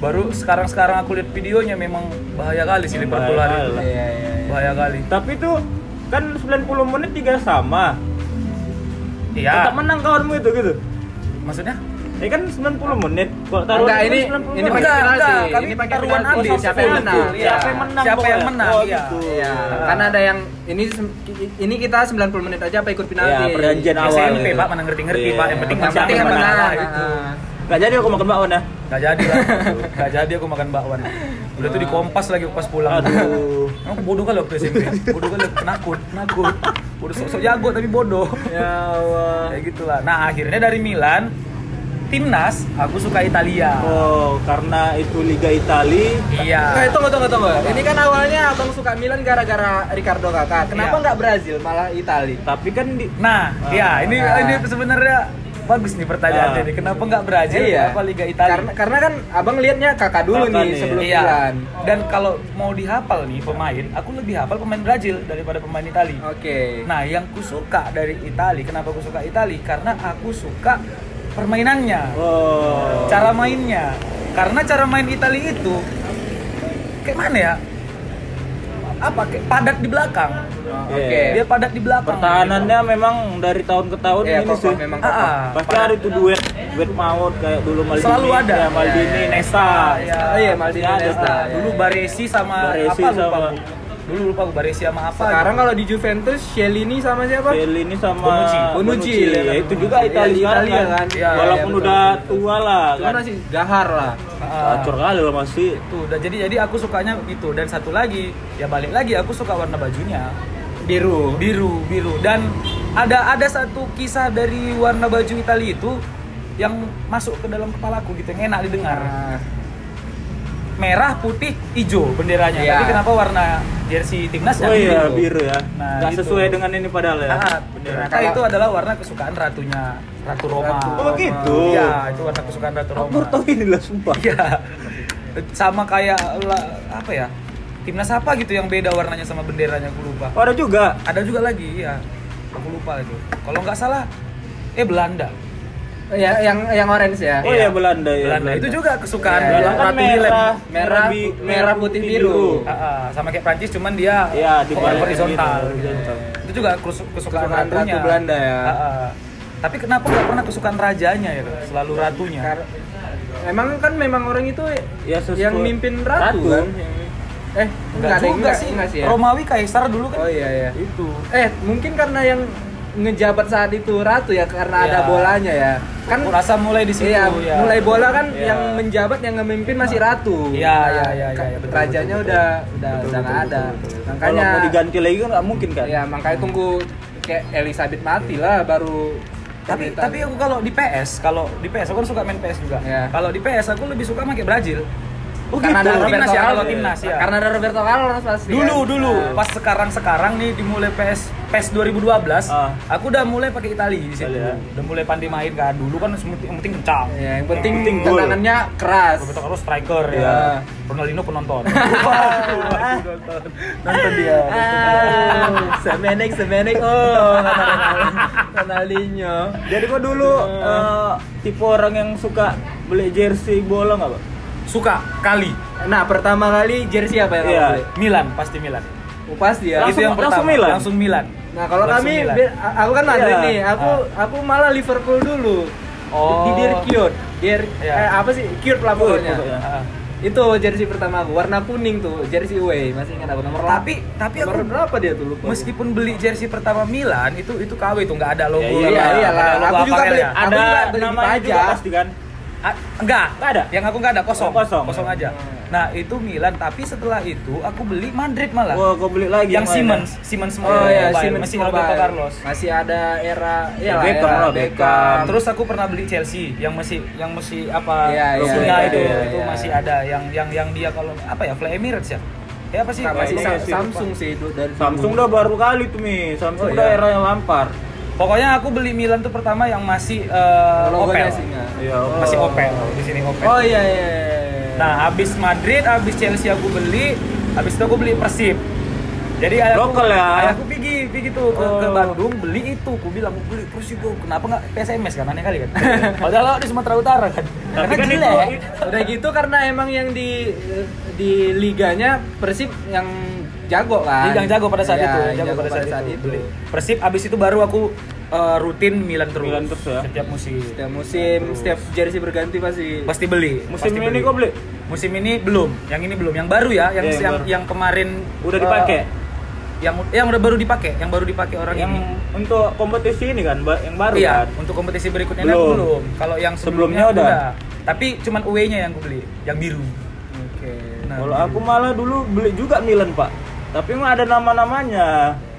Speaker 3: Baru sekarang-sekarang aku lihat videonya memang bahaya kali sih Liverpool hari itu.
Speaker 1: Bahaya.
Speaker 2: Iya, iya, iya.
Speaker 3: Bahaya kali.
Speaker 1: Tapi tuh kan 90 menit tiga sama.
Speaker 3: Iya.
Speaker 1: Tetap menang kawanmu itu gitu.
Speaker 3: Maksudnya?
Speaker 1: Ya kan 90 menit. Kalau taruh
Speaker 2: Enggak, ini ini pakai
Speaker 3: Enggak,
Speaker 1: Oh,
Speaker 2: penalti.
Speaker 3: enggak, kami
Speaker 2: Ini pakai
Speaker 3: taruhan
Speaker 2: penalti.
Speaker 3: habis.
Speaker 2: Siapa yang menang?
Speaker 1: Siapa yang
Speaker 2: Iya.
Speaker 1: menang?
Speaker 3: Siapa yang
Speaker 1: pokoknya.
Speaker 3: menang,
Speaker 1: Oh,
Speaker 3: iya.
Speaker 1: gitu.
Speaker 2: Iya, karena ada yang ini ini kita 90 menit aja apa ikut penalti.
Speaker 1: Iya, perjanjian awal.
Speaker 3: SMP
Speaker 1: gitu.
Speaker 3: pak mana ngerti-ngerti
Speaker 1: Iya.
Speaker 3: pak yang penting
Speaker 2: Yang
Speaker 3: siapa
Speaker 2: penting
Speaker 3: yang
Speaker 2: menang.
Speaker 3: menang Iya.
Speaker 2: Ah,
Speaker 3: itu.
Speaker 2: ah.
Speaker 1: Enggak jadi aku makan bakwan ya.
Speaker 3: Gak jadi lah, gak jadi aku makan bakwan. Udah tuh di kompas lagi pas pulang.
Speaker 1: Aduh.
Speaker 3: Emang aku bodoh kali waktu SMP. Bodoh kali, penakut, penakut. Bodoh sok-sok jago tapi bodoh.
Speaker 2: Ya Allah.
Speaker 3: Kayak gitulah. Nah akhirnya dari Milan, timnas aku suka Italia.
Speaker 1: Oh, karena itu Liga Itali.
Speaker 2: Eh,
Speaker 3: Iya.
Speaker 2: tunggu, tunggu, tunggu. Ini kan awalnya abang suka Milan gara-gara Ricardo Kakak. Kenapa
Speaker 3: Iya.
Speaker 2: nggak Brazil, malah Itali?
Speaker 1: Tapi kan di
Speaker 3: Nah, ya ini
Speaker 2: Ah.
Speaker 3: ini sebenarnya bagus nih pertanyaannya
Speaker 1: Ah.
Speaker 3: nih. Kenapa nggak Brazil? Kenapa Liga Italia?
Speaker 2: Nah. Iya. Karena, karena kan abang liatnya kakak dulu
Speaker 1: Kakak
Speaker 2: nih
Speaker 1: nih.
Speaker 2: sebelum
Speaker 3: Iya.
Speaker 2: Milan.
Speaker 3: Dan kalau mau dihafal nih pemain, aku lebih hafal pemain Brazil daripada pemain Itali.
Speaker 2: Oke.
Speaker 3: Nah, yang ku suka dari Itali, kenapa aku suka Itali? Karena aku suka permainannya,
Speaker 1: oh.
Speaker 3: cara mainnya. Karena cara main Itali itu kayak mana ya? Apa kayak padat di belakang?
Speaker 2: Oke.
Speaker 1: Iya.
Speaker 3: Dia padat di belakang.
Speaker 1: pertahanannya memang dari tahun ke tahun
Speaker 2: Iya,
Speaker 1: ini
Speaker 2: kokoh,
Speaker 1: sih.
Speaker 2: memang
Speaker 3: Ah,
Speaker 2: kokoh.
Speaker 3: ah,
Speaker 1: Pasti
Speaker 3: padat.
Speaker 1: ada itu duet, duet maut kayak dulu Maldini.
Speaker 3: Selalu ada.
Speaker 1: Ya, Maldini,
Speaker 3: Iya, iya.
Speaker 1: Nesta.
Speaker 3: Iya.
Speaker 2: Oh iya, Maldini
Speaker 1: Iya,
Speaker 2: Nesta.
Speaker 1: iya.
Speaker 2: ya.
Speaker 3: Dulu Baresi sama
Speaker 1: Baresi
Speaker 3: apa lupa
Speaker 1: sama-
Speaker 3: aku. Dulu lupa aku Baresi sama apa.
Speaker 2: Sekarang
Speaker 3: gitu.
Speaker 2: kalau di Juventus, Chiellini sama siapa?
Speaker 1: Bale ini sama
Speaker 3: Bonucci.
Speaker 2: Bonucci,
Speaker 1: ya,
Speaker 2: iya.
Speaker 1: itu juga
Speaker 2: Iya,
Speaker 1: Italia
Speaker 2: di
Speaker 1: sekarang
Speaker 2: Italia
Speaker 1: kan.
Speaker 2: kan. Iya,
Speaker 1: Walaupun
Speaker 2: iya, betul,
Speaker 1: udah
Speaker 2: betul,
Speaker 1: tua lah
Speaker 2: Cuma
Speaker 1: kan.
Speaker 2: masih gahar lah.
Speaker 3: Ah.
Speaker 1: Gacor kali loh masih.
Speaker 3: Tuh, dan jadi jadi aku sukanya itu dan satu lagi ya balik lagi aku suka warna bajunya
Speaker 2: Biru.
Speaker 3: biru biru dan ada ada satu kisah dari warna baju Italia itu yang masuk ke dalam kepalaku gitu yang enak didengar
Speaker 2: Nah,
Speaker 3: merah putih hijau benderanya
Speaker 2: Iya.
Speaker 3: tapi kenapa warna jersey timnasnya
Speaker 1: Oh iya,
Speaker 3: biru,
Speaker 1: biru ya.
Speaker 3: Nah,
Speaker 1: Gak
Speaker 3: gitu.
Speaker 1: sesuai dengan ini padahal ya.
Speaker 3: Ah,
Speaker 1: Bener.
Speaker 3: ternyata itu adalah warna kesukaan ratunya ratu Roma
Speaker 2: Ratu
Speaker 1: Oh gitu.
Speaker 3: iya itu warna kesukaan ratu Roma
Speaker 1: Aku baru tahu ini lah sumpah.
Speaker 3: Iya. Sama kayak la- apa ya? Timnas apa gitu yang beda warnanya sama benderanya aku lupa.
Speaker 1: Oh, ada juga.
Speaker 3: Ada juga lagi, iya. Aku lupa itu. Kalau nggak salah eh Belanda.
Speaker 2: ya, yang yang orange ya.
Speaker 1: Oh iya
Speaker 3: Iya.
Speaker 1: Belanda ya.
Speaker 3: Belanda itu juga kesukaan
Speaker 2: Iya,
Speaker 3: dalam
Speaker 2: iya.
Speaker 1: Kan
Speaker 3: Ratu Willem.
Speaker 1: merah,
Speaker 2: Merah,
Speaker 1: bi-
Speaker 2: pu- merah, putih, biru.
Speaker 3: Ah, ah, sama kayak Prancis cuman dia
Speaker 1: Iya, di
Speaker 3: over-
Speaker 1: bawah
Speaker 3: horizontal.
Speaker 1: gitu, horizontal.
Speaker 3: Itu juga kesu- kesukaan,
Speaker 2: Kesukaan ratu
Speaker 3: ratunya.
Speaker 2: Belanda ya.
Speaker 3: Ah, ah. Tapi kenapa nggak pernah kesukaan rajanya ya? Selalu ratunya.
Speaker 2: Kar- Emang kan memang orang itu
Speaker 1: Ya, sesuai-
Speaker 2: yang mimpin
Speaker 1: Ratu.
Speaker 2: ratu, kan? Eh, enggak, deh,
Speaker 3: juga
Speaker 2: enggak
Speaker 3: sih.
Speaker 2: enggak sih ya.
Speaker 3: Romawi Kaisar dulu kan
Speaker 2: Oh iya iya.
Speaker 3: itu.
Speaker 2: Eh, mungkin karena yang ngejabat saat itu ratu ya karena
Speaker 3: Iya.
Speaker 2: ada bolanya ya. Kan
Speaker 3: Aku rasa mulai di situ
Speaker 2: iya,
Speaker 3: ya.
Speaker 2: mulai bola kan
Speaker 1: Iya.
Speaker 2: yang menjabat yang ngemimpin masih ratu.
Speaker 3: Iya, iya, iya, iya,
Speaker 2: ka-
Speaker 3: iya, betul,
Speaker 2: Rajanya udah
Speaker 3: betul,
Speaker 2: udah
Speaker 1: Betul,
Speaker 2: udah
Speaker 1: betul,
Speaker 2: nggak ada.
Speaker 1: betul, betul.
Speaker 2: Makanya
Speaker 1: kalau mau diganti lagi kan nggak mungkin kan.
Speaker 2: Iya, makanya tunggu kayak Elizabeth mati lah baru
Speaker 3: tapi
Speaker 2: pemerintahan.
Speaker 3: tapi oh, aku kalau di PS kalau di PS aku kan suka main PS juga
Speaker 2: Ya.
Speaker 3: kalau di PS aku lebih suka pakai Brazil
Speaker 1: Oh
Speaker 2: karena ada
Speaker 1: gitu.
Speaker 2: Roberto
Speaker 3: Timnas ya,
Speaker 2: Carlos.
Speaker 3: kalau timnas ya.
Speaker 2: Karena ada Roberto Carlos pasti.
Speaker 3: dulu
Speaker 2: kan?
Speaker 3: dulu
Speaker 2: Nah.
Speaker 3: pas sekarang sekarang nih dimulai PS PS 2012
Speaker 1: Ah.
Speaker 3: aku udah mulai pakai Itali di situ
Speaker 1: Italia.
Speaker 3: udah mulai pandai main kan dulu kan yang penting- yang penting kencang
Speaker 2: Ya, yang penting,
Speaker 1: Yang penting gol.
Speaker 2: tendangannya keras.
Speaker 3: Roberto Carlos striker
Speaker 1: Iya.
Speaker 3: ya Ronaldinho penonton Waduh, nonton nonton dia
Speaker 2: semenek semenek Ah, oh Ronaldinho.
Speaker 1: Jadi kok dulu eh, tipe orang yang suka beli jersey bola nggak pak?
Speaker 3: suka kali
Speaker 2: Nah pertama kali jersey apa yang
Speaker 1: Iya.
Speaker 2: kamu beli?
Speaker 3: Milan pasti Milan
Speaker 2: Oh, pasti ya.
Speaker 1: Langsung-
Speaker 3: itu yang
Speaker 1: langsung
Speaker 3: pertama
Speaker 1: Milan?
Speaker 3: langsung Milan
Speaker 2: Nah kalau
Speaker 3: Langsung
Speaker 2: kami,
Speaker 3: Milan.
Speaker 2: be- aku kan Madrid
Speaker 1: Iya.
Speaker 2: nih, aku aku malah Liverpool dulu.
Speaker 3: Ah. Oh.
Speaker 2: Di Dirkiot. Dir
Speaker 3: Iya.
Speaker 2: eh, apa sih? Kiot lah
Speaker 1: Kiot,
Speaker 2: pokoknya.
Speaker 1: pokoknya.
Speaker 3: Ah.
Speaker 2: Itu jersey pertama aku, warna kuning tuh, jersey away, masih ingat aku nomor
Speaker 3: Tapi- tapi
Speaker 2: nomor
Speaker 3: aku-
Speaker 2: berapa dia tuh lupa. aku.
Speaker 3: Meskipun beli jersey pertama Milan itu itu KW itu nggak ada logo.
Speaker 1: Ya,
Speaker 2: iya iya,
Speaker 3: nggak
Speaker 2: iya
Speaker 3: ada
Speaker 2: lah,
Speaker 3: logo
Speaker 2: aku juga
Speaker 3: APL
Speaker 2: beli.
Speaker 3: ya.
Speaker 2: Aku
Speaker 1: ada
Speaker 2: nggak beli
Speaker 1: nama
Speaker 2: apa
Speaker 1: juga
Speaker 2: aja.
Speaker 1: pasti kan
Speaker 3: A- enggak,
Speaker 1: Enggak ada?
Speaker 3: Yang aku enggak ada kosong.
Speaker 1: Oh, kosong.
Speaker 3: aja.
Speaker 2: Hmm.
Speaker 3: Nah, itu Milan, tapi setelah itu aku beli Madrid malah.
Speaker 1: wah kau beli lagi
Speaker 3: yang
Speaker 1: lain.
Speaker 3: Siemens, Siemens
Speaker 2: Oh
Speaker 3: Mobile,
Speaker 2: iya, Siemens
Speaker 3: masih
Speaker 2: Mobile.
Speaker 3: Roberto Carlos.
Speaker 2: Masih ada era ya lah,
Speaker 1: Beckham
Speaker 2: era
Speaker 1: lah, Beckham.
Speaker 3: Terus aku pernah beli Chelsea yang masih yang masih apa
Speaker 2: Iya, iya,
Speaker 3: logonya
Speaker 1: iya,
Speaker 3: itu
Speaker 1: iya,
Speaker 3: itu
Speaker 2: iya.
Speaker 3: masih ada yang yang yang dia kalau apa ya Fly Emirates ya. Ya apa sih?
Speaker 2: Nah, masih
Speaker 1: Kayaknya
Speaker 2: Sam-
Speaker 1: sih,
Speaker 2: Samsung sih du- dari dulu.
Speaker 1: Samsung udah baru kali tuh mi Samsung
Speaker 2: Oh,
Speaker 1: udah
Speaker 2: iya.
Speaker 1: era yang lampar
Speaker 3: Pokoknya aku beli Milan tuh pertama yang masih eh,
Speaker 2: logonya
Speaker 3: Opel.
Speaker 2: sih nggak.
Speaker 1: Iya, Opel.
Speaker 3: Masih Opel di sini Opel.
Speaker 2: Oh iya iya. iya.
Speaker 3: Nah, habis Madrid, habis Chelsea aku beli, habis itu aku beli Persib. Jadi ayahku,
Speaker 1: Lokal ya?
Speaker 3: ayahku pergi, pergi tuh ke, ke
Speaker 1: Oh.
Speaker 3: Bandung beli itu. Aku bilang, aku beli Persib, gua. kenapa nggak PSMS kan? Aneh kali kan? Padahal di Sumatera Utara kan?
Speaker 1: Tapi
Speaker 3: Karena
Speaker 1: kan itu-
Speaker 3: jelek.
Speaker 2: udah gitu karena emang yang di di liganya Persib yang jago kan.
Speaker 3: Jadi yang jago pada saat
Speaker 2: Iya,
Speaker 3: itu,
Speaker 2: yang
Speaker 3: jago pada saat, itu.
Speaker 2: itu.
Speaker 3: Beli. Persib, habis itu baru aku eh, rutin Milan terus.
Speaker 1: Milan terus ya?
Speaker 3: Setiap musim.
Speaker 2: Setiap musim,
Speaker 3: Terus.
Speaker 2: setiap jersey berganti pasti.
Speaker 3: Pasti beli.
Speaker 1: musim
Speaker 3: pasti
Speaker 1: ini kau beli
Speaker 3: Musim ini belum, yang ini belum, yang baru ya, yang
Speaker 1: Iya, yang
Speaker 3: yang,
Speaker 1: baru.
Speaker 3: yang kemarin
Speaker 1: udah
Speaker 3: eh,
Speaker 1: dipakai
Speaker 3: yang yang udah baru dipakai, yang baru dipakai orang
Speaker 1: yang
Speaker 3: ini.
Speaker 1: untuk kompetisi ini kan ba- yang baru
Speaker 3: iya,
Speaker 1: kan
Speaker 3: untuk kompetisi berikutnya
Speaker 1: Belum.
Speaker 3: aku belum. Kalau yang sebelumnya,
Speaker 1: Sebelumnya udah.
Speaker 3: Tapi cuman UE-nya yang aku beli, yang biru.
Speaker 2: Oke.
Speaker 3: Nah,
Speaker 1: kalau
Speaker 3: biru.
Speaker 1: aku malah dulu beli juga Milan pak tapi emang ada nama namanya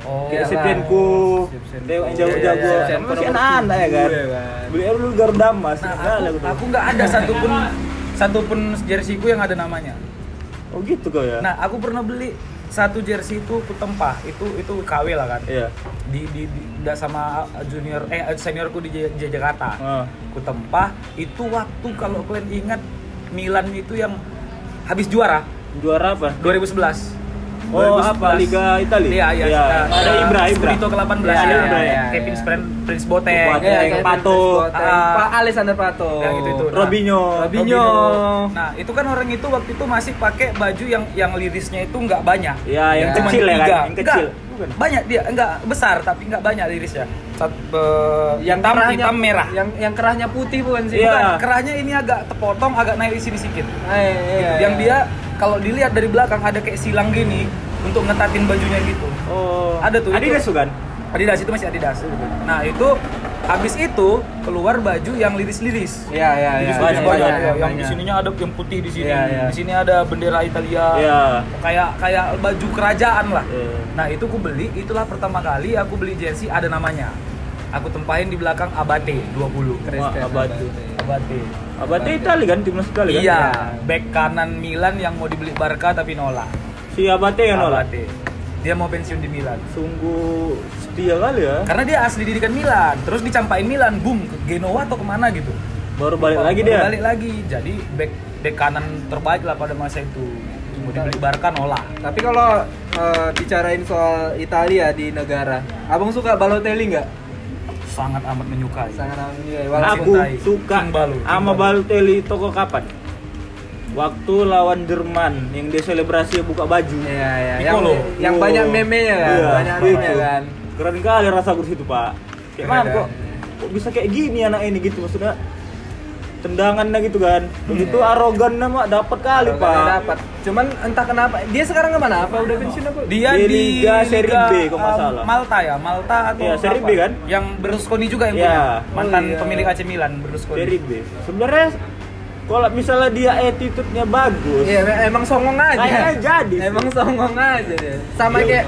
Speaker 3: oh,
Speaker 1: kayak
Speaker 2: iyalah.
Speaker 1: Sepchenko,
Speaker 2: Sepchenko.
Speaker 1: Dewa yang jago-jago,
Speaker 3: Iya, iya, iya.
Speaker 1: Emang masih
Speaker 2: Sepchenko
Speaker 1: anak-anak ya
Speaker 2: nomor
Speaker 1: kan?
Speaker 2: tujuh ya kan?
Speaker 1: Beli aja dulu Garuda Mas,
Speaker 3: nah,
Speaker 1: segala
Speaker 3: aku
Speaker 1: gitu.
Speaker 3: aku nggak ada satupun satupun jersiku yang ada namanya.
Speaker 1: Oh gitu kau ya?
Speaker 3: Nah, aku pernah beli satu jersey itu kutempah, itu itu KW lah kan.
Speaker 1: Iya.
Speaker 3: Di di, di nggak sama junior eh seniorku di J- J- Jakarta.
Speaker 1: Ah.
Speaker 3: Kutempah itu waktu kalau kalian ingat Milan itu yang habis juara
Speaker 1: Juara apa?
Speaker 3: 2011.
Speaker 1: Oh,
Speaker 3: 2011.
Speaker 1: apa? Liga Italia?
Speaker 3: Iya, iya.
Speaker 1: Iya. Ada Ibra, Ibra.
Speaker 3: Vito ke-18
Speaker 1: Iya,
Speaker 3: ya.
Speaker 1: Ibra,
Speaker 3: ya.
Speaker 1: iya,
Speaker 3: Kevin
Speaker 2: iya.
Speaker 3: Spren, Prince Boateng.
Speaker 1: Boateng.
Speaker 3: Iya,
Speaker 1: yang
Speaker 3: kayak-
Speaker 1: Pato.
Speaker 3: Ah.
Speaker 2: Pak Alexander Pato.
Speaker 3: Yang itu itu. Nah,
Speaker 1: Robinho.
Speaker 2: Robinho.
Speaker 3: Nah, itu kan orang itu waktu itu masih pakai baju yang yang lirisnya itu nggak banyak.
Speaker 1: Iya, yang
Speaker 2: Cuman
Speaker 1: kecil ya kan?
Speaker 3: tiga.
Speaker 1: Yang kecil.
Speaker 3: Nggak,
Speaker 1: Bukan.
Speaker 3: Banyak dia, enggak besar tapi nggak banyak lirisnya. Sat, yang
Speaker 2: Yang
Speaker 3: hitam,
Speaker 2: kerahnya
Speaker 3: hitam merah.
Speaker 2: Yang yang kerahnya putih bukan sih?
Speaker 1: Iya.
Speaker 3: Bukan, kerahnya ini agak terpotong, agak naik di sini sedikit.
Speaker 2: Ah, iya, iya,
Speaker 3: Yang
Speaker 2: iya.
Speaker 3: dia kalau dilihat dari belakang ada kayak silang gini untuk ngetatin bajunya gitu.
Speaker 1: Oh.
Speaker 3: Ada tuh,
Speaker 1: Adidas
Speaker 3: itu.
Speaker 1: tuh kan?
Speaker 3: Adidas itu masih Adidas. Nah itu habis itu keluar baju yang liris-liris.
Speaker 2: Iya iya iya.
Speaker 3: Liris-liris
Speaker 1: banyak,
Speaker 3: banyak,
Speaker 1: banyak,
Speaker 3: yang di sininya ada yang putih di sini,
Speaker 2: Iya, iya.
Speaker 3: di sini ada bendera Italia.
Speaker 1: Iya.
Speaker 3: Kayak kayak baju kerajaan lah.
Speaker 1: Iya.
Speaker 3: Nah itu aku beli, itulah pertama kali aku beli jersey ada namanya. Aku tempahin di belakang Abate 20.
Speaker 2: Christian
Speaker 1: Wah, abad.
Speaker 3: Abate.
Speaker 1: Abate Italia kan? Timnas Italia kan?
Speaker 3: Iya, back kanan Milan yang mau dibeli Barca tapi nolak.
Speaker 1: Si Abate yang nolak.
Speaker 3: Abate. Dia mau pensiun di Milan.
Speaker 1: Sungguh setia kali ya.
Speaker 3: Karena dia asli didikan Milan, terus dicampain Milan, boom ke Genoa atau kemana gitu.
Speaker 1: Baru balik lagi
Speaker 3: Baru
Speaker 1: dia.
Speaker 3: Balik lagi, jadi back back kanan terbaik lah pada masa itu. Mau dibeli Barca nolak.
Speaker 2: Tapi kalau eh, bicarain soal Italia di negara, abang suka Balotelli nggak? Iya,
Speaker 3: Sangat amat menyukai.
Speaker 2: Sangat ramai.
Speaker 1: Aku
Speaker 3: Cintai.
Speaker 1: suka
Speaker 3: King Balu, King
Speaker 1: sama
Speaker 3: Balu.
Speaker 1: Balotelli toko kapan? Waktu lawan Jerman yang dia selebrasi buka baju.
Speaker 2: Iya iya. Yang,
Speaker 3: Piccolo.
Speaker 2: yang
Speaker 1: Oh.
Speaker 2: banyak meme-nya kan,
Speaker 1: Iya,
Speaker 2: banyak
Speaker 1: itu.
Speaker 2: meme kan. Iya,
Speaker 1: Keren kali rasa gue situ, Pak. Kayak
Speaker 3: Keren.
Speaker 1: man, kok kok bisa kayak gini anak ini gitu maksudnya tendangannya gitu kan begitu
Speaker 2: Iya.
Speaker 1: arogan nama dapat kali
Speaker 2: Kalau nggak
Speaker 1: pak
Speaker 2: dapat. Cuman entah kenapa dia sekarang kemana? Apa udah pensiun apa?
Speaker 3: Dia
Speaker 1: Di
Speaker 3: di,
Speaker 1: Liga Serie B, kalau nggak
Speaker 3: eh,
Speaker 1: salah.
Speaker 3: Malta ya, Malta atau
Speaker 1: Iya, Serie
Speaker 3: apa?
Speaker 1: B kan?
Speaker 3: Yang Berlusconi juga yang
Speaker 1: Iya.
Speaker 3: punya. Mantan
Speaker 2: Oh, iya.
Speaker 3: pemilik AC Milan Berlusconi.
Speaker 1: dari B sebenarnya kalau misalnya dia attitude-nya bagus
Speaker 2: Iya, em- emang songong aja.
Speaker 1: Kayaknya jadi sih.
Speaker 2: Emang songong aja dia. Sama
Speaker 1: Iya,
Speaker 2: kayak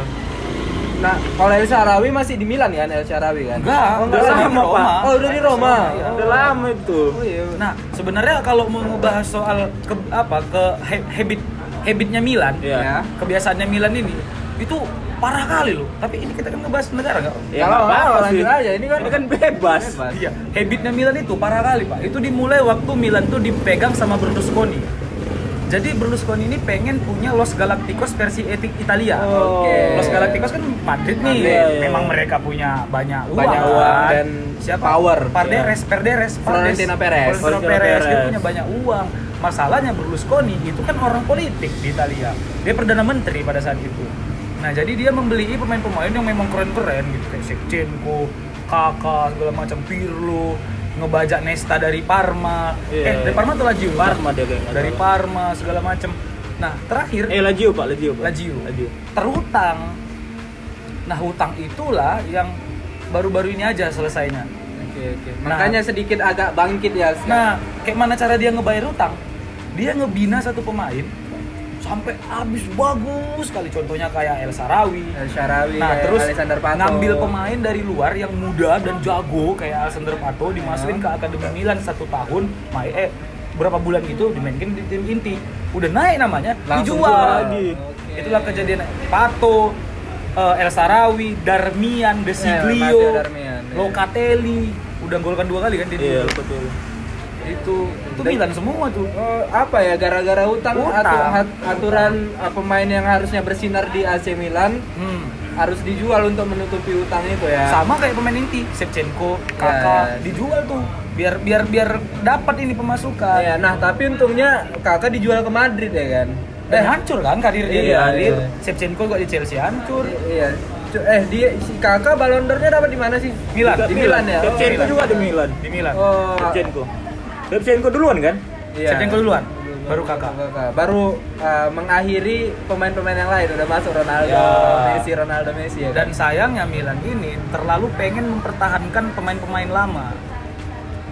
Speaker 2: Nah, kalau El Sharawi masih di Milan kan, El Sharawi kan?
Speaker 3: Enggak,
Speaker 2: oh, enggak
Speaker 1: udah
Speaker 2: sama
Speaker 1: lama,
Speaker 2: Roma.
Speaker 1: Pak.
Speaker 2: Oh, udah di Roma.
Speaker 3: Iya.
Speaker 1: udah lama itu
Speaker 2: Oh, iya.
Speaker 3: Nah, sebenarnya kalau mau ngebahas soal ke apa ke ha- habit habitnya Milan,
Speaker 1: Iya.
Speaker 2: Ya.
Speaker 3: kebiasaannya Milan ini itu parah kali loh. Tapi ini kita kan ngebahas negara nggak?
Speaker 1: Ya,
Speaker 2: Kalau
Speaker 1: nggak apa-apa
Speaker 2: mau, lanjut
Speaker 1: sih.
Speaker 2: aja. Ini kan-
Speaker 1: kan bebas.
Speaker 2: Bebas.
Speaker 3: Iya, habitnya Milan itu parah kali pak. Itu dimulai waktu Milan tuh dipegang sama Berlusconi. Jadi Berlusconi ini pengen punya Los Galacticos versi etik Italia.
Speaker 2: Oke.
Speaker 3: Los Galacticos kan Madrid nih.
Speaker 1: Madrid, iya.
Speaker 3: Memang mereka punya banyak uang.
Speaker 2: Banyak uang
Speaker 3: kan.
Speaker 2: dan power. Iya.
Speaker 3: Parderes, Perderes, Pardes.
Speaker 2: Florentino Perez.
Speaker 3: Florentino
Speaker 1: Florentino
Speaker 3: Perez. Dia
Speaker 1: Perez.
Speaker 3: punya banyak uang. Masalahnya Berlusconi itu kan orang politik di Italia. Dia perdana menteri pada saat itu. Nah, jadi dia membeli pemain-pemain yang memang keren-keren gitu kayak Shevchenko, Kakak segala macam Pirlo. ngebajak Nesta dari Parma. eh,
Speaker 1: Iya.
Speaker 3: dari Parma atau Lazio?
Speaker 1: Parma dia kayaknya.
Speaker 3: Dari Parma segala macem. Nah, terakhir
Speaker 1: Eh Lazio Pak, Lazio. Pak.
Speaker 3: Lazio.
Speaker 1: Lazio.
Speaker 3: terutang. Nah, hutang itulah yang baru-baru ini aja selesainya.
Speaker 2: Oke, oke.
Speaker 3: Nah.
Speaker 2: Makanya sedikit agak bangkit ya. sekarang.
Speaker 3: Nah, kayak mana cara dia ngebayar utang? Dia ngebina satu pemain sampai habis bagus sekali. Contohnya kayak El Sarawi.
Speaker 2: El Sharawi,
Speaker 3: Nah,
Speaker 2: kayak
Speaker 3: terus
Speaker 2: Iya, Alexander Pato.
Speaker 3: ngambil pemain dari luar yang muda dan jago kayak Alexander Pato
Speaker 2: Iya.
Speaker 3: dimasukin ke Akademi Milan satu tahun, mai eh berapa bulan gitu dimainkan di tim inti. Udah naik namanya,
Speaker 2: Langsung
Speaker 3: dijual
Speaker 2: jual
Speaker 3: lagi.
Speaker 2: Oke.
Speaker 3: Itulah kejadian Pato, eh, El Sarawi, Darmian,
Speaker 2: Iya,
Speaker 3: De
Speaker 2: Matteo
Speaker 3: Siglio,
Speaker 2: Darmian, ya.
Speaker 3: Locatelli, udah golkan dua kali kan dia
Speaker 1: Iya,
Speaker 3: dulu.
Speaker 1: betul.
Speaker 3: itu itu Milan semua tuh.
Speaker 2: Eh, apa ya gara-gara utang,
Speaker 3: Utang.
Speaker 2: atu- hat- aturan eh, pemain yang harusnya bersinar di AC Milan
Speaker 3: Hmm.
Speaker 2: harus dijual untuk menutupi utang itu ya.
Speaker 3: sama kayak pemain inti Shevchenko
Speaker 2: Ya,
Speaker 3: kakak
Speaker 2: ya.
Speaker 3: dijual tuh biar biar biar dapat ini pemasukan
Speaker 2: Ya, nah tapi untungnya kakak dijual ke Madrid ya kan.
Speaker 3: dan hancur kan karir dia di
Speaker 2: Iya,
Speaker 3: Madrid
Speaker 2: iya.
Speaker 3: Shevchenko gak di Chelsea hancur
Speaker 2: I- Iya. Cu- Eh dia si kakak Ballon d'Or-nya dapat di mana sih?
Speaker 3: Milan.
Speaker 2: Di Milan ya. Oh,
Speaker 1: Shevchenko
Speaker 2: Milan.
Speaker 1: juga di Milan.
Speaker 3: di Milan
Speaker 2: Oh,
Speaker 1: Shevchenko. Shevchenko duluan kan?
Speaker 2: iya.
Speaker 3: Shevchenko duluan baru kakak
Speaker 2: Baru eh, mengakhiri pemain-pemain yang lain udah masuk Ronaldo,
Speaker 3: Ya.
Speaker 2: Messi, Ronaldo, Messi ya.
Speaker 3: dan sayangnya Milan ini terlalu pengen mempertahankan pemain-pemain lama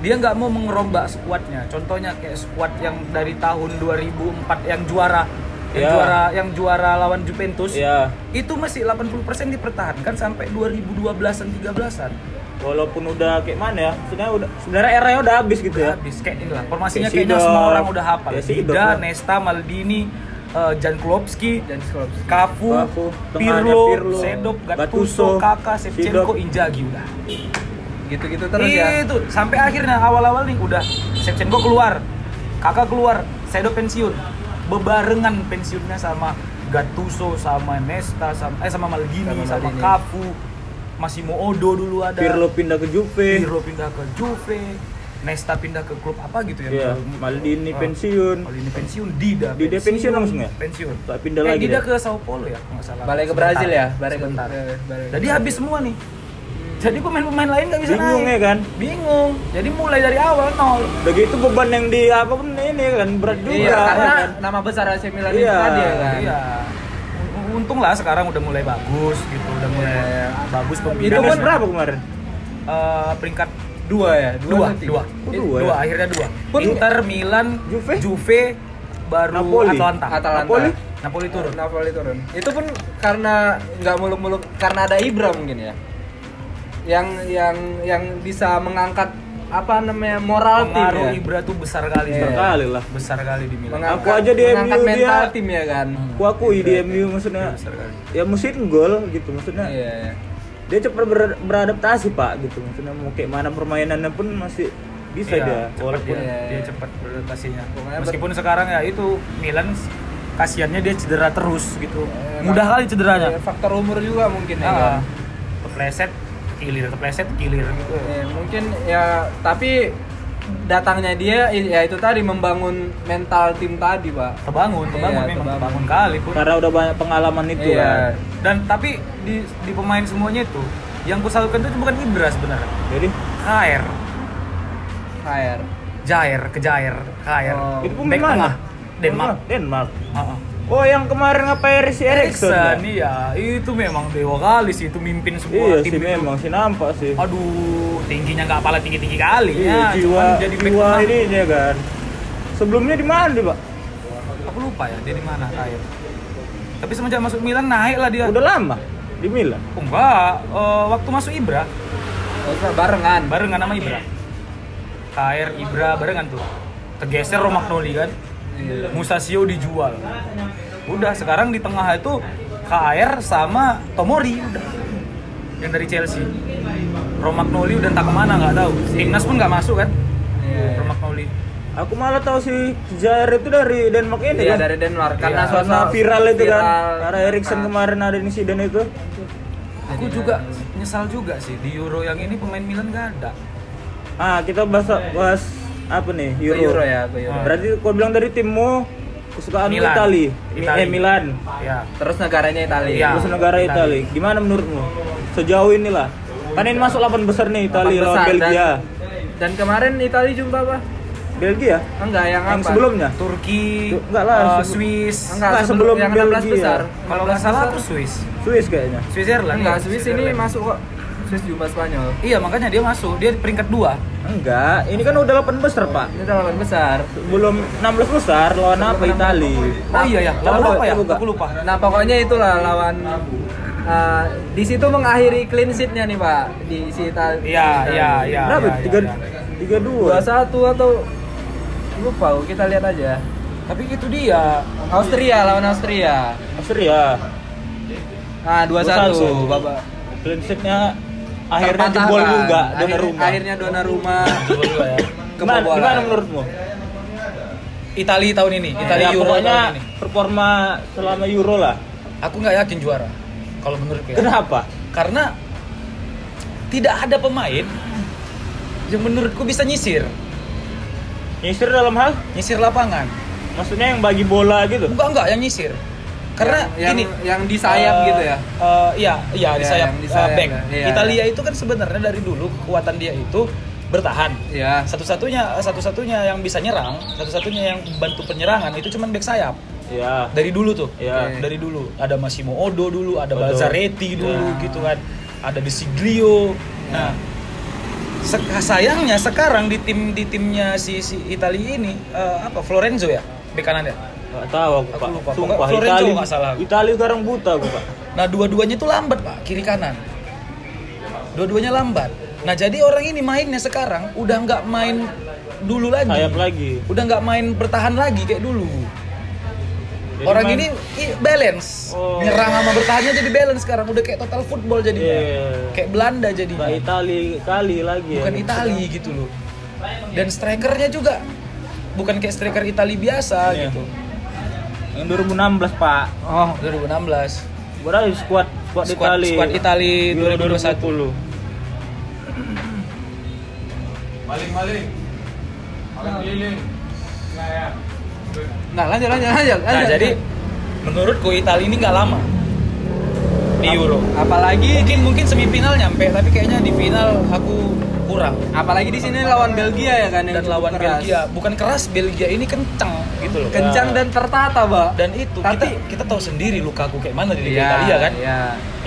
Speaker 3: dia nggak mau mengerombak skuadnya contohnya kayak skuad yang dari tahun 2004 yang juara yang
Speaker 1: Ya.
Speaker 3: juara yang juara lawan Juventus
Speaker 1: Iya.
Speaker 3: itu masih 80% dipertahankan sampai 2012-an 13-an
Speaker 1: Walaupun udah kayak mana ya? Sebenarnya udah sebenarnya eranya udah habis gitu ya.
Speaker 3: habis kayak inilah formasinya
Speaker 1: Kayak
Speaker 3: kayaknya semua
Speaker 1: Sidor.
Speaker 3: orang udah hafal
Speaker 1: Kayak Sidor,
Speaker 3: Dida,
Speaker 1: kan?
Speaker 3: Nesta, Maldini, eh, Jan Klopski,
Speaker 2: kan? Dan Skolop.
Speaker 3: Kafu,
Speaker 1: Kafu, tengahnya
Speaker 3: Pirlo,
Speaker 1: Pirlo,
Speaker 3: Sedop,
Speaker 1: Gattuso,
Speaker 3: Gattuso, Kakak, Shevchenko,
Speaker 1: Sidor.
Speaker 3: Inzaghi udah.
Speaker 2: Gitu-gitu terus ya.
Speaker 3: Itu sampai akhirnya awal-awal nih udah Shevchenko keluar, Kakak keluar, Sedop pensiun. Bebarengan pensiunnya sama Gattuso sama Nesta sama eh sama Maldini
Speaker 2: Sama
Speaker 3: sama,
Speaker 2: Maldini.
Speaker 3: Kafu. Massimo Odo dulu ada.
Speaker 1: Pirlo pindah ke Juve.
Speaker 3: Pirlo pindah ke Juve, Nesta pindah ke klub apa gitu ya?
Speaker 1: Iya, Maldini pensiun.
Speaker 2: Ah.
Speaker 3: Kalau ini pensiun Dida.
Speaker 1: Dida pensiun langsung ya?
Speaker 3: Pensiun.
Speaker 1: Tak pindah
Speaker 3: Eh,
Speaker 1: lagi
Speaker 3: Dida
Speaker 1: dia.
Speaker 3: ke Sao Paulo ya, kalau nggak salah.
Speaker 2: Balik ke
Speaker 3: Sebentar.
Speaker 2: Brazil ya, balik ke
Speaker 3: Sebentar.
Speaker 2: eh, balik ke-
Speaker 3: Jadi habis semua nih. Jadi pemain-pemain lain nggak bisa
Speaker 1: Bingung
Speaker 3: naik.
Speaker 1: ya kan?
Speaker 3: Bingung. Jadi mulai dari awal nol.
Speaker 1: Udah gitu beban yang di apa pun ini kan berat juga.
Speaker 2: Iya, karena
Speaker 1: kan?
Speaker 2: nama besar AC Milan itu
Speaker 1: Iya,
Speaker 2: tadi ya kan.
Speaker 3: Iya. Un- Untung lah sekarang udah mulai bagus gitu, udah mulai
Speaker 2: Iya.
Speaker 3: bagus
Speaker 1: itu
Speaker 3: pembinaan.
Speaker 1: kan berapa kemarin?
Speaker 3: Eh, peringkat
Speaker 2: Dua ya,
Speaker 3: dua,
Speaker 2: dua, atau tiga?
Speaker 3: dua,
Speaker 1: Oh,
Speaker 3: Eh,
Speaker 1: dua
Speaker 3: dua,
Speaker 1: ya?
Speaker 3: akhirnya dua.
Speaker 1: Pun-
Speaker 3: Inter, Milan,
Speaker 1: Juve?
Speaker 3: baru
Speaker 1: Napoli.
Speaker 3: Atalanta.
Speaker 2: Atalanta.
Speaker 1: Napoli?
Speaker 3: Napoli turun.
Speaker 2: Napoli turun. Itu pun karena nggak muluk-muluk karena ada Ibra mungkin ya. Yang yang yang bisa mengangkat apa namanya moral tim
Speaker 3: Pengaruh
Speaker 2: ya.
Speaker 3: Ibra tuh besar kali,
Speaker 2: Iya.
Speaker 3: Bro.
Speaker 1: Sekali lah.
Speaker 3: besar kali di Milan.
Speaker 2: Mengangkat,
Speaker 1: Aku aja di
Speaker 2: mengangkat
Speaker 1: MU
Speaker 2: mental
Speaker 1: dia-
Speaker 2: tim ya kan.
Speaker 1: Ku akui di MU maksudnya
Speaker 3: Iya, Besar kali.
Speaker 1: ya mesin gol gitu maksudnya
Speaker 2: Iya. iya.
Speaker 1: dia cepat ber- beradaptasi pak gitu maksudnya mau kayak mana permainannya pun masih bisa
Speaker 3: Iya,
Speaker 1: dia
Speaker 3: cepet
Speaker 1: walaupun
Speaker 3: dia,
Speaker 2: Iya, iya.
Speaker 3: dia cepat beradaptasinya.
Speaker 2: Pokoknya
Speaker 3: Meskipun sekarang ya itu Milan kasihannya dia cedera terus gitu.
Speaker 2: Eh,
Speaker 3: Mudah
Speaker 2: mak-
Speaker 3: kali cederanya.
Speaker 2: Iya, Faktor umur juga mungkin ya.
Speaker 3: Ah,
Speaker 2: kan?
Speaker 3: kepleset, kilir, kepleset, kilir gitu.
Speaker 2: Iya, mungkin ya tapi datangnya dia ya itu tadi membangun mental tim tadi, Pak.
Speaker 3: Kebangun, kebangun
Speaker 2: Iya,
Speaker 3: memang
Speaker 2: kebangun.
Speaker 3: kebangun kali pun.
Speaker 1: karena udah banyak pengalaman itu
Speaker 2: Iya.
Speaker 1: kan
Speaker 3: Dan tapi di, di pemain semuanya itu yang kusalutkan itu bukan Ibra sebenarnya.
Speaker 1: jadi
Speaker 3: Kair,
Speaker 2: HR.
Speaker 3: Jair, kejair, Kair.
Speaker 2: Oh.
Speaker 1: itu pun ya? Oh,
Speaker 3: Back
Speaker 1: mana
Speaker 3: tengah, Denmark.
Speaker 1: Denmark
Speaker 3: Heeh.
Speaker 1: oh yang kemarin ngapain si Erikson
Speaker 3: Erikson,
Speaker 1: ya?
Speaker 3: iya itu memang dewa kali sih itu mimpin
Speaker 1: iya
Speaker 3: semua tim
Speaker 1: sih
Speaker 3: itu. Oh,
Speaker 1: memang sih nampak sih
Speaker 3: Aduh, tingginya nggak pala tinggi tinggi kali
Speaker 1: iya
Speaker 3: ya.
Speaker 1: jiwa
Speaker 3: cuman jadi back
Speaker 1: jiwa
Speaker 3: tengah.
Speaker 1: ini dia kan sebelumnya di mana dia, pak
Speaker 3: Aku lupa ya dia di mana Kair. Tapi semenjak masuk Milan naik lah dia.
Speaker 1: udah lama di Milan
Speaker 3: Oh, enggak, Eh, waktu masuk Ibra
Speaker 2: Usah barengan.
Speaker 3: barengan sama Ibra. Kair Ibra barengan tuh. Tergeser Romagnoli kan.
Speaker 2: Iya.
Speaker 3: Musasio dijual. Udah sekarang di tengah itu KR sama Tomori udah. Yang dari Chelsea. Romagnoli udah entah kemana nggak tahu. Timnas pun nggak masuk kan?
Speaker 2: Iya.
Speaker 3: Romagnoli.
Speaker 1: aku malah tahu si Jair itu dari Denmark ini
Speaker 2: Iya
Speaker 1: kan
Speaker 2: dari Denmark karena
Speaker 1: Karena
Speaker 2: suasana
Speaker 1: viral itu kan
Speaker 2: viral. Ah,
Speaker 1: karena Erikson
Speaker 3: Ah.
Speaker 1: kemarin ada insiden itu
Speaker 3: Aku juga nyesal juga sih di Euro yang ini pemain Milan nggak ada.
Speaker 1: ah kita bahas bahas apa nih
Speaker 2: Ke
Speaker 1: Euro, Ah.
Speaker 2: Euro ya ke Euro.
Speaker 1: berarti kau bilang dari timmu kesukaan
Speaker 3: Milan.
Speaker 1: Itali,
Speaker 3: Itali.
Speaker 1: Eh, Milan
Speaker 3: Ya.
Speaker 2: Terus negaranya Italia.
Speaker 3: Iya.
Speaker 1: terus negara Itali. gimana menurutmu sejauh inilah kan ini masuk 8 besar nih Itali
Speaker 2: Lapan
Speaker 1: lawan
Speaker 2: besar,
Speaker 1: Belgia
Speaker 2: dan Dan kemarin Italia jumpa apa?
Speaker 1: Belgia
Speaker 2: Ah, Enggak, yang,
Speaker 1: yang
Speaker 2: apa?
Speaker 1: sebelumnya
Speaker 3: Turki,
Speaker 1: Tuh, enggak lah,
Speaker 3: eh,
Speaker 1: sebelum-
Speaker 3: Swiss.
Speaker 2: Enggak,
Speaker 1: Enggak,
Speaker 2: sebelum,
Speaker 1: sebelum
Speaker 2: yang 16
Speaker 1: Belgia.
Speaker 2: besar.
Speaker 3: Kalau nggak
Speaker 2: 16
Speaker 3: salah
Speaker 2: besar.
Speaker 3: tuss Swiss.
Speaker 1: Swiss kayaknya
Speaker 3: Switzerland.
Speaker 2: enggak,
Speaker 3: ya,
Speaker 2: Swiss ini
Speaker 3: Switzerland.
Speaker 2: masuk kok. Swiss jumpa Spanyol.
Speaker 3: Iya, makanya dia masuk. Dia peringkat 2.
Speaker 1: enggak ini kan udah 8 besar pak
Speaker 2: Ini delapan besar.
Speaker 1: belum 16 besar lawan apa Itali
Speaker 3: Oh iya ya, lawan
Speaker 1: Coba,
Speaker 3: apa ya?
Speaker 1: coba.
Speaker 3: Aku lupa.
Speaker 2: Nah, pokoknya itulah lawan eh, di situ mengakhiri clean sheet-nya nih, Pak. Di si Italia.
Speaker 3: Iya, iya, iya.
Speaker 1: berapa
Speaker 3: iya,
Speaker 1: tiga
Speaker 3: iya, iya.
Speaker 1: tiga dua
Speaker 2: 21 atau lupa, kita lihat aja.
Speaker 3: Tapi itu dia.
Speaker 2: Austria lawan Austria.
Speaker 1: Austria
Speaker 2: Nah,
Speaker 1: 21.
Speaker 2: 21, Bapak.
Speaker 1: clean sheetnya akhirnya
Speaker 2: Terpatahkan.
Speaker 1: jebol juga
Speaker 2: Akhir-
Speaker 1: dona rumah
Speaker 2: Akhirnya dona rumah
Speaker 3: ya.
Speaker 1: gimana,
Speaker 2: kebobolan.
Speaker 1: gimana menurutmu?
Speaker 3: Italia tahun ini,
Speaker 2: Oh,
Speaker 3: Italia
Speaker 2: iya,
Speaker 1: Ya,
Speaker 3: Euro
Speaker 1: pokoknya
Speaker 3: tahun ini.
Speaker 1: performa selama Euro lah
Speaker 3: Aku nggak yakin juara. Kalau menurutku ya.
Speaker 1: kenapa?
Speaker 3: Karena tidak ada pemain yang menurutku bisa nyisir,
Speaker 1: nyisir dalam hal?
Speaker 3: nyisir lapangan.
Speaker 1: maksudnya yang bagi bola gitu?
Speaker 3: Enggak enggak yang nyisir. Karena
Speaker 2: yang,
Speaker 3: ini
Speaker 2: yang di sayap
Speaker 3: eh,
Speaker 2: gitu ya.
Speaker 3: eh, iya, iya di
Speaker 2: Iya,
Speaker 3: sayap,
Speaker 2: yang di
Speaker 3: eh,
Speaker 2: sayap
Speaker 3: back.
Speaker 2: ya. Iya,
Speaker 3: Italia
Speaker 2: iya.
Speaker 3: itu kan sebenarnya dari dulu kekuatan dia itu bertahan.
Speaker 2: Ya.
Speaker 3: Satu-satunya satu-satunya yang bisa nyerang, satu-satunya yang bantu penyerangan itu cuman back sayap.
Speaker 1: ya
Speaker 3: dari dulu tuh
Speaker 1: Iya.
Speaker 3: Oke. dari dulu ada Massimo Odo dulu ada
Speaker 1: Odo.
Speaker 3: Balzaretti dulu
Speaker 1: Iya.
Speaker 3: gitu kan ada De Siglio nah se- sayangnya sekarang di tim di timnya si si Italia ini eh, apa Florenzo ya bek kanannya
Speaker 1: Gak tahu aku,
Speaker 3: Aku
Speaker 1: Pak.
Speaker 3: lupa.
Speaker 1: Sumpah,
Speaker 3: Pokoknya Florenzo
Speaker 1: Itali,
Speaker 3: nggak salah aku.
Speaker 1: Itali sekarang buta aku, Pak.
Speaker 3: nah dua-duanya tuh lambat pak kiri kanan dua-duanya lambat nah jadi orang ini mainnya sekarang udah nggak main dulu lagi
Speaker 1: Sayap lagi.
Speaker 3: udah nggak main bertahan lagi kayak dulu
Speaker 1: Jadi
Speaker 3: orang
Speaker 1: main-
Speaker 3: ini i- balance
Speaker 1: Oh.
Speaker 3: nyerang sama bertahannya jadi balance sekarang udah kayak total football jadi
Speaker 1: Iya.
Speaker 3: kayak Belanda jadi
Speaker 1: Nggak Itali kali lagi
Speaker 3: bukan
Speaker 1: ya.
Speaker 3: Itali gitu loh dan strikernya juga bukan kayak striker Itali biasa
Speaker 1: Iya.
Speaker 3: gitu
Speaker 1: Yang 2016, Pak.
Speaker 2: Oh,
Speaker 3: 2016
Speaker 1: Berarti skuad skuad
Speaker 3: Skuad-
Speaker 1: Itali.
Speaker 3: skuad Itali
Speaker 1: Euro 2020.
Speaker 3: 2021.
Speaker 4: Maling-maling. Maling keliling. Nah, ya.
Speaker 2: nah lanjut lanjut lanjut.
Speaker 3: nah
Speaker 2: lanjut.
Speaker 3: jadi menurutku Itali ini nggak lama di Euro
Speaker 2: apalagi
Speaker 3: mungkin mungkin semifinal nyampe tapi kayaknya di final aku kurang
Speaker 2: apalagi di sini lawan Belgia ya kan yang
Speaker 3: dan
Speaker 2: cukup
Speaker 3: lawan
Speaker 2: keras.
Speaker 3: Belgia bukan keras Belgia ini kencang gitu loh
Speaker 2: Kencang dan tertata, Pak.
Speaker 3: dan itu
Speaker 2: Tapi-
Speaker 3: kita kita tahu sendiri Lukaku kayak mana di Liga Italia kan Eh,
Speaker 2: Iya.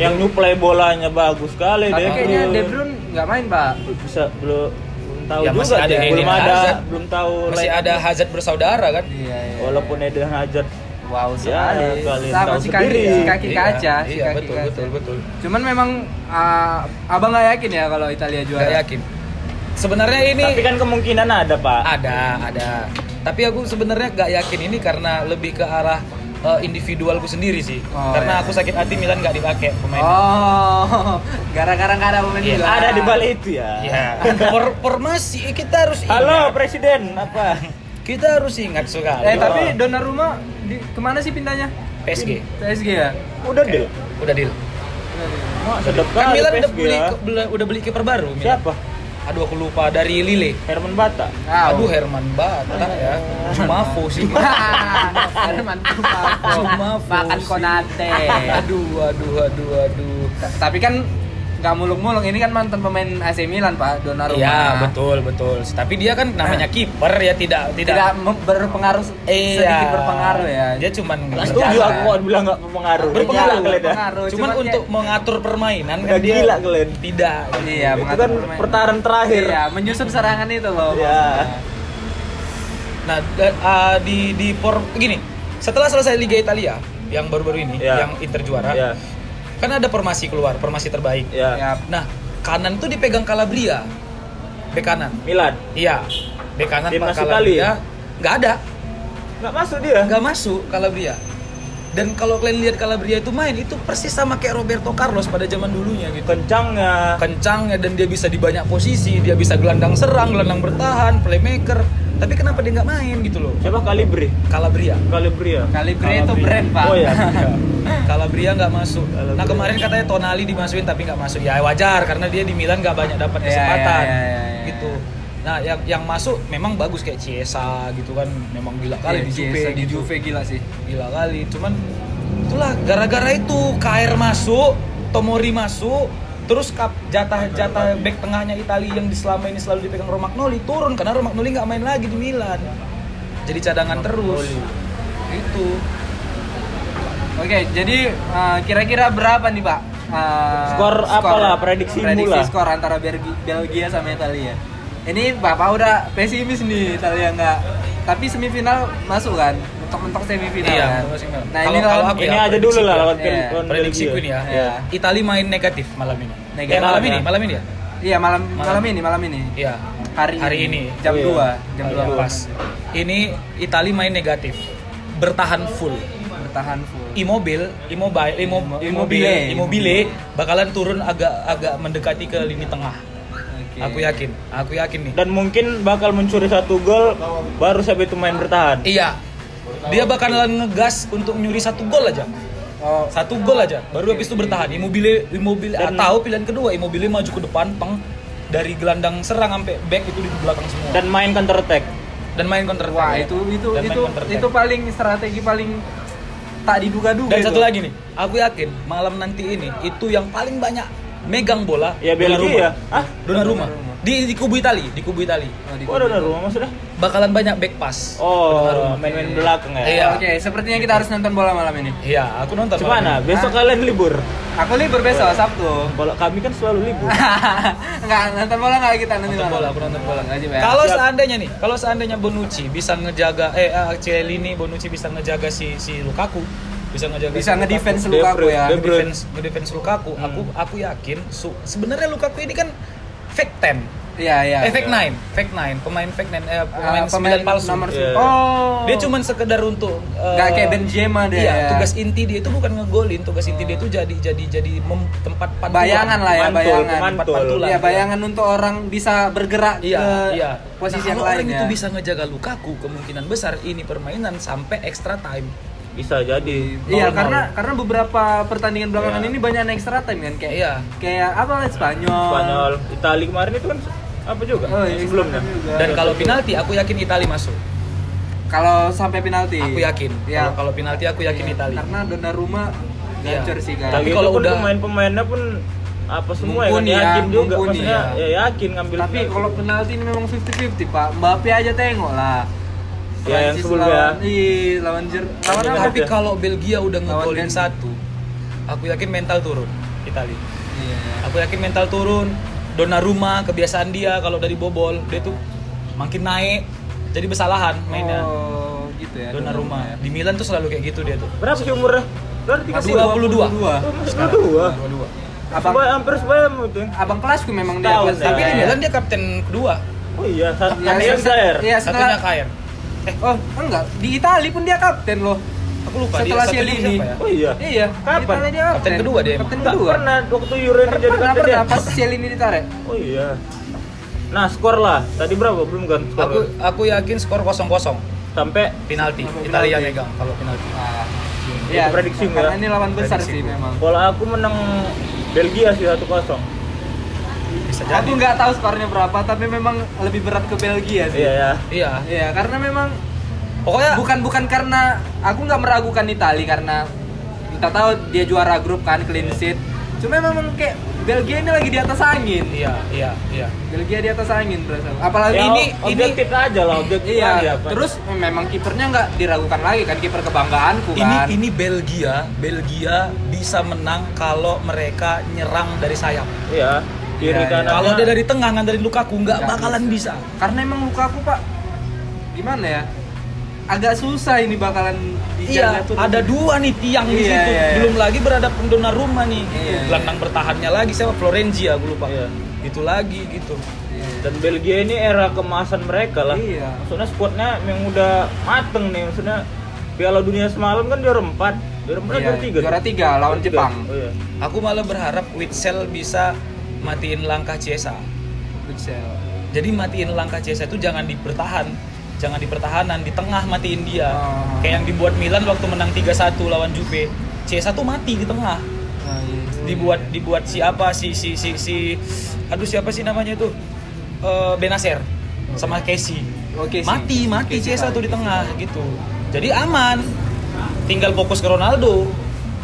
Speaker 1: Yang nyuplai bolanya bagus sekali
Speaker 2: Tapi
Speaker 1: deh.
Speaker 2: kayaknya
Speaker 1: belum-
Speaker 2: De Bruyne nggak main, Pak.
Speaker 1: bisa belum belum tahu
Speaker 3: Ya,
Speaker 1: juga
Speaker 3: masih ada
Speaker 1: deh.
Speaker 3: Eden
Speaker 1: belum ada
Speaker 3: Hazard.
Speaker 1: belum tahu
Speaker 3: masih
Speaker 1: lain-
Speaker 3: ada Hazard bersaudara kan
Speaker 2: Iya, iya.
Speaker 1: walaupun Eden Hazard
Speaker 2: wow sekali.
Speaker 1: kalian
Speaker 2: Ya, eh, Sama
Speaker 1: tahu
Speaker 2: si kaki,
Speaker 1: sendiri.
Speaker 2: si kaki
Speaker 3: Iya,
Speaker 2: kaca, si
Speaker 3: iya,
Speaker 2: kaki
Speaker 3: betul,
Speaker 2: kaca.
Speaker 3: betul betul
Speaker 2: Cuman memang ah, Abang nggak yakin ya kalau Italia juara.
Speaker 3: Gak yakin sebenarnya Nah, ini
Speaker 1: tapi kan kemungkinan ada pak
Speaker 3: ada ada tapi aku sebenarnya gak yakin ini karena lebih ke arah eh, individualku sendiri sih
Speaker 2: Oh,
Speaker 3: karena
Speaker 2: iya.
Speaker 3: aku sakit hati Milan gak dipakai pemain
Speaker 2: Oh, gara-gara nggak ada pemain
Speaker 3: Iya,
Speaker 2: Milan.
Speaker 1: ada di balik itu ya
Speaker 3: Ya, for- formasi kita harus ingat.
Speaker 1: halo presiden apa
Speaker 3: Kita harus ingat sekali.
Speaker 2: Eh tapi Donnarumma di, kemana sih pindahnya?
Speaker 3: PSG
Speaker 2: PSG ya.
Speaker 1: udah deh
Speaker 3: udah deal.
Speaker 1: Mak, sedap
Speaker 3: Kan
Speaker 1: kali
Speaker 3: Milan udah
Speaker 1: PSG
Speaker 3: beli,
Speaker 1: ya.
Speaker 3: beli- udah beli kiper baru. Milan.
Speaker 1: siapa
Speaker 3: Aduh aku lupa dari Lille.
Speaker 1: Herman Bata
Speaker 2: Ah,
Speaker 3: Aduh Herman Bata ya. Jumafo sih.
Speaker 2: Herman
Speaker 3: Cuma
Speaker 2: makan
Speaker 3: fusi.
Speaker 2: Konate.
Speaker 3: aduh, aduh, aduh, aduh.
Speaker 2: Tapi kan nggak muluk-muluk ini kan mantan pemain AC Milan Pak Donnarumma.
Speaker 3: Iya, betul, betul. Tapi dia kan namanya kiper ya
Speaker 2: Tidak,
Speaker 3: tidak tidak
Speaker 2: mem- berpengaruh
Speaker 3: Iya.
Speaker 2: sedikit berpengaruh ya.
Speaker 3: Dia cuman
Speaker 1: Nggak setuju
Speaker 3: berjalan.
Speaker 1: aku kok bilang nggak Iya, mempengaruhi
Speaker 3: Berpengaruh,
Speaker 1: Gila kalian dah.
Speaker 2: berpengaruh.
Speaker 3: Cuman,
Speaker 2: Cuman
Speaker 3: untuk
Speaker 2: kayak-
Speaker 3: mengatur permainan kan
Speaker 1: Udah
Speaker 3: dia
Speaker 1: gila kalian.
Speaker 3: tidak.
Speaker 2: Iya,
Speaker 1: itu
Speaker 2: mengatur
Speaker 1: kan
Speaker 2: permainan.
Speaker 1: pertaran terakhir
Speaker 2: Iya, menyusun serangan itu loh.
Speaker 1: Iya.
Speaker 3: Nah, da- ah, di di por gini, setelah selesai Liga Italia yang baru-baru ini
Speaker 1: Iya.
Speaker 3: yang Inter juara,
Speaker 1: ya
Speaker 3: kan ada formasi keluar, formasi terbaik.
Speaker 1: ya
Speaker 2: Ya,
Speaker 3: Nah, kanan tuh dipegang Calabria. Bek kanan.
Speaker 1: Milan
Speaker 3: Iya. Bek kanan
Speaker 1: Tim
Speaker 3: Pak
Speaker 1: masuk
Speaker 3: Calabria.
Speaker 1: kali ya?
Speaker 3: Nggak ada.
Speaker 1: nggak masuk dia
Speaker 3: Nggak masuk Calabria. Dan kalau kalian lihat Calabria itu main itu persis sama kayak Roberto Carlos pada zaman dulunya gitu.
Speaker 1: kencangnya
Speaker 3: Kencangnya dan dia bisa di banyak posisi, dia bisa gelandang serang, gelandang bertahan, playmaker. Tapi kenapa dia nggak main gitu loh?
Speaker 1: siapa Kalibri
Speaker 3: Calabria.
Speaker 1: Kalibria
Speaker 2: Calibri itu brand, Pak.
Speaker 1: oh ya
Speaker 3: Calabria nggak masuk.
Speaker 1: Calabria.
Speaker 3: Nah kemarin katanya Tonali dimasukin tapi nggak masuk. Ya wajar karena dia di Milan nggak banyak dapat
Speaker 2: Iya,
Speaker 3: kesempatan
Speaker 2: iya, iya, iya, iya.
Speaker 3: gitu. Nah yang yang masuk memang bagus kayak Chiesa gitu kan memang gila
Speaker 2: Iya,
Speaker 3: kali di Juve
Speaker 2: Chiesa di
Speaker 3: gitu.
Speaker 2: Juve gila sih.
Speaker 3: gila kali. Cuman itulah gara-gara itu KR masuk, Tomori masuk, Terus kap jatah-jatah back tengahnya Italia yang selama ini selalu dipegang Romagnoli turun karena Romagnoli nggak main lagi di Milan. Jadi cadangan terus. Itu.
Speaker 2: Oke, jadi eh, kira-kira berapa nih, Pak? Eh,
Speaker 1: Skor apalah, prediksi mula.
Speaker 2: skor antara Belgi- Belgia sama Italia. Ini Bapak udah pesimis nih Italia nggak. Tapi semifinal masuk kan? Mentok-mentok semifinal
Speaker 3: Iya,
Speaker 2: kan?
Speaker 3: mentok semifinal.
Speaker 2: Nah,
Speaker 3: Kalau-
Speaker 2: ini lawan
Speaker 3: kalau aku
Speaker 1: Ini
Speaker 3: ya,
Speaker 1: aja dulu lah
Speaker 3: prediksi
Speaker 1: lawan
Speaker 2: ya.
Speaker 1: lawan
Speaker 3: Prediksiku
Speaker 1: Belgia.
Speaker 3: ini ya.
Speaker 2: Iya.
Speaker 3: Italia main negatif malam ini.
Speaker 2: Negatif.
Speaker 3: Eh, malam ini,
Speaker 1: Ya.
Speaker 3: malam ini ya?
Speaker 2: Iya, malam malam ini, malam ini.
Speaker 3: Iya.
Speaker 2: Hari,
Speaker 3: Hari ini.
Speaker 2: jam
Speaker 1: Iya.
Speaker 2: 2, jam
Speaker 3: Jam
Speaker 2: 2
Speaker 3: pas. Ini Italia main negatif. Bertahan full.
Speaker 2: Bertahan full.
Speaker 3: Iya. Immobile, immobile, Immo-
Speaker 2: Immobile.
Speaker 3: immobile, immobile bakalan turun agak agak mendekati ke lini tengah.
Speaker 2: Oke.
Speaker 3: Aku yakin, aku yakin nih.
Speaker 1: Dan mungkin bakal mencuri satu gol baru sampai itu main bertahan.
Speaker 3: Iya. Dia bakalan ngegas untuk nyuri satu gol aja.
Speaker 2: Oh,
Speaker 3: Satu gol aja. Baru habis itu bertahan. Immobile Immobile
Speaker 1: Dan-
Speaker 3: atau pilihan kedua Immobile maju ke depan peng dari gelandang serang sampai back itu di belakang semua. Dan,
Speaker 1: Dan main counter attack.
Speaker 3: main counter
Speaker 2: wah
Speaker 3: attack.
Speaker 2: itu itu
Speaker 3: Iya. Dan main
Speaker 2: itu
Speaker 3: counter attack.
Speaker 2: itu paling strategi paling tak diduga-duga.
Speaker 3: Dan
Speaker 2: itu.
Speaker 1: gitu.
Speaker 2: Oh,
Speaker 3: satu lagi nih, aku yakin malam nanti ini itu yang paling banyak megang bola
Speaker 1: Ya Belgia ya. Ah,
Speaker 3: Donnarumma. Di, di kubu Itali, di kubu Itali.
Speaker 2: Oh, di-
Speaker 1: kok ada rumah maksudnya?
Speaker 3: Bakalan banyak back pass.
Speaker 1: Oh, main-main belakang ya.
Speaker 3: Iya.
Speaker 2: Oke, sepertinya kita harus nonton bola malam ini.
Speaker 3: Iya, aku nonton. malam
Speaker 1: Gimana?
Speaker 3: ini.
Speaker 1: Besok kalian libur.
Speaker 2: Aku libur besok Sabtu.
Speaker 1: Kalau kami kan selalu libur.
Speaker 2: Ah. Enggak nonton bola enggak kita nanti
Speaker 3: Nonton
Speaker 2: malam.
Speaker 3: bola, aku nonton bola.
Speaker 2: Wajib ya.
Speaker 3: Kalau
Speaker 1: Siap.
Speaker 3: seandainya nih, kalau seandainya Bonucci bisa ngejaga eh ah, Cielini Bonucci bisa ngejaga si si Lukaku, bisa ngejaga
Speaker 2: bisa
Speaker 3: si Lukaku.
Speaker 2: ngedefense luka aku ya.
Speaker 1: De Bruyne.
Speaker 3: Ngedefense- ngedefense Lukaku. Aku
Speaker 1: Hmm.
Speaker 3: aku yakin su- sebenarnya Lukaku ini kan fake 10.
Speaker 2: Iya, iya.
Speaker 3: eh, fake 9, fake 9, pemain fake 9 eh,
Speaker 2: Ah,
Speaker 3: pemain, 9 palsu.
Speaker 2: Nomor
Speaker 1: Iya.
Speaker 2: Oh.
Speaker 3: Dia cuman sekedar untuk eh,
Speaker 2: Nggak kayak Benzema dia. ya.
Speaker 3: Iya, tugas inti dia itu bukan ngegolin, tugas inti dia itu jadi jadi jadi mem- tempat pantulan.
Speaker 2: bayangan lah ya,
Speaker 1: Mantul,
Speaker 2: bayangan.
Speaker 1: mantul.
Speaker 2: Iya, bayangan untuk orang bisa bergerak
Speaker 3: Iya,
Speaker 2: ke
Speaker 3: iya.
Speaker 2: posisi
Speaker 3: Nah,
Speaker 2: yang
Speaker 3: kalau
Speaker 2: lain
Speaker 3: orang
Speaker 2: ya.
Speaker 3: itu bisa ngejaga Lukaku, kemungkinan besar ini permainan sampai extra time.
Speaker 1: Bisa jadi.
Speaker 2: Iya,
Speaker 3: Nol-nol.
Speaker 2: karena karena beberapa pertandingan belakangan
Speaker 1: Iya.
Speaker 2: ini banyak yang extra time kan kayak
Speaker 3: Iya.
Speaker 2: kayak apa Spanyol.
Speaker 1: Spanyol, Italia kemarin itu kan apa juga?
Speaker 2: Oh, iya,
Speaker 1: Yang sebelumnya.
Speaker 2: extra time juga.
Speaker 3: Dan kalau penalti aku yakin Itali masuk.
Speaker 2: Kalau sampai penalti.
Speaker 3: Aku yakin.
Speaker 2: Iya.
Speaker 3: Kalau kalau penalti aku yakin
Speaker 2: Iya,
Speaker 3: Itali.
Speaker 2: Karena Donnarumma
Speaker 3: Iya.
Speaker 2: gacor sih kan.
Speaker 1: Tapi
Speaker 3: Tapi
Speaker 1: kalau
Speaker 3: kalau
Speaker 1: udah
Speaker 3: udah-
Speaker 1: pemain-pemainnya pun apa semua ya kan
Speaker 2: Mumpuni ya,
Speaker 1: yakin juga
Speaker 2: mumpuni
Speaker 1: maksudnya
Speaker 2: ya.
Speaker 1: ya. yakin ngambil
Speaker 2: Tapi
Speaker 1: penalti.
Speaker 2: kalau penalti ini memang 50-50, Pak. Mbappe aja tengok lah.
Speaker 1: Ya, yang
Speaker 2: Prancis
Speaker 1: sebelum
Speaker 2: lawan,
Speaker 1: ya.
Speaker 2: Ih, lawan Jer lawan
Speaker 1: Iya.
Speaker 2: apa?
Speaker 3: Tapi kalau Belgia udah
Speaker 2: Lawan Denmark.
Speaker 3: ngegolin satu, aku yakin mental turun Itali.
Speaker 2: Iya.
Speaker 3: Aku yakin mental turun. Donnarumma kebiasaan dia kalau dari bobol dia tuh makin naik jadi besalahan mainnya.
Speaker 2: Oh, gitu ya.
Speaker 3: Donnarumma di Milan tuh selalu kayak gitu dia tuh.
Speaker 1: berapa sih umurnya? kan Lu ada 32.
Speaker 2: Masih
Speaker 3: 22.
Speaker 2: 22.
Speaker 1: Oh, masih 22.
Speaker 2: Abang
Speaker 1: Sebaya- hampir sebaya itu.
Speaker 2: abang kelasku memang dia.
Speaker 1: Setahun
Speaker 2: kelas-
Speaker 1: ya.
Speaker 3: Tapi di
Speaker 1: Iya.
Speaker 3: Milan dia kapten kedua,
Speaker 1: Oh iya, satu
Speaker 2: Iya,
Speaker 1: yang
Speaker 2: setelah-
Speaker 1: saya.
Speaker 2: Iya, setelah
Speaker 3: satunya Kair.
Speaker 2: Oh, enggak. Di Itali pun dia kapten loh.
Speaker 3: Aku lupa
Speaker 2: Setelah
Speaker 3: dia satunya
Speaker 2: Chiellini.
Speaker 3: siapa ya?
Speaker 1: Oh iya.
Speaker 2: Iya.
Speaker 1: Kapan?
Speaker 2: Di Itali dia
Speaker 3: Kapten kedua dia emang.
Speaker 2: Kapten
Speaker 1: Enggak
Speaker 2: kedua.
Speaker 1: pernah waktu Euro ini jadi
Speaker 2: Pernah,
Speaker 1: kapten
Speaker 2: pernah
Speaker 1: ya?
Speaker 2: pas Chiellini ditarik.
Speaker 1: Oh iya. Nah, skor lah. Tadi berapa? Belum kan skor?
Speaker 3: Aku aku yakin skor 0-0.
Speaker 1: Sampai
Speaker 3: Penalti.
Speaker 2: Apa
Speaker 3: Italia
Speaker 2: penalti?
Speaker 3: megang kalau penalti.
Speaker 2: Iya,
Speaker 1: Itu ya. prediksi gua.
Speaker 2: karena ini lawan besar
Speaker 3: Prediksi
Speaker 2: sih
Speaker 3: gua.
Speaker 2: memang.
Speaker 1: kalau aku menang Belgia sih 1-0.
Speaker 3: Bisa jadi.
Speaker 2: Aku nggak tahu skornya berapa, tapi memang lebih berat ke Belgia sih.
Speaker 1: Iya ya.
Speaker 3: Iya.
Speaker 2: Iya, karena memang
Speaker 3: Pokoknya
Speaker 2: bukan bukan karena aku nggak meragukan Itali karena kita tahu dia juara grup kan
Speaker 3: Iya.
Speaker 2: clean sheet. Cuma memang kayak Belgia ini lagi di atas angin.
Speaker 3: iya, iya, iya.
Speaker 2: Belgia di atas angin berasa. Apalagi
Speaker 1: Ya,
Speaker 2: ini
Speaker 3: oh,
Speaker 1: ini objektif aja lah, objektif
Speaker 2: iya.
Speaker 3: ya,
Speaker 1: aja. Pak.
Speaker 2: Terus memang kipernya nggak diragukan lagi kan kiper kebanggaanku
Speaker 3: Ini
Speaker 2: kan.
Speaker 3: ini Belgia, Belgia bisa menang kalau mereka nyerang dari sayap.
Speaker 1: iya, kiri
Speaker 2: Iya, iya.
Speaker 1: kanan.
Speaker 3: Kalau dia dari tengah ngandelin Lukaku
Speaker 2: Nggak
Speaker 3: nggak bakalan bisa.
Speaker 2: Kan. Karena emang luka aku Pak gimana ya? Agak susah ini bakalan
Speaker 3: Iya,
Speaker 2: dijaga tuh.
Speaker 3: ada dua nih tiang
Speaker 2: Iya,
Speaker 3: di situ.
Speaker 2: iya, iya.
Speaker 3: Belum lagi berhadapan Donnarumma nih.
Speaker 2: Iya,
Speaker 3: Gelandang bertahannya lagi siapa? Florenzi aku lupa.
Speaker 1: Iya.
Speaker 3: Itu lagi gitu.
Speaker 2: Iya.
Speaker 1: dan Belgia ini era kemasan mereka lah.
Speaker 2: Iya.
Speaker 1: Maksudnya squadnya yang udah mateng nih, maksudnya Piala Dunia semalam kan juara 4, juara 4
Speaker 2: Iya,
Speaker 1: juara 3.
Speaker 2: juara tiga lawan Jepang.
Speaker 1: Oh iya.
Speaker 3: Aku malah berharap Witsel bisa matiin langkah Ciesa.
Speaker 2: Witsel.
Speaker 3: Jadi matiin langkah Ciesa itu jangan dipertahan, jangan di pertahanan, di tengah matiin dia.
Speaker 2: Ah.
Speaker 3: Kayak yang dibuat Milan waktu menang 3-1 lawan Juve. Ciesa tuh mati di tengah.
Speaker 2: Nah, iya.
Speaker 3: Dibuat dibuat siapa si si si si aduh siapa sih namanya itu? Eh, Benacer sama Casey.
Speaker 2: Oke sih.
Speaker 3: Mati, mati
Speaker 2: Oke sih,
Speaker 3: Ciesa
Speaker 2: Pak.
Speaker 3: tuh di tengah gitu. Jadi aman. Tinggal fokus ke Ronaldo.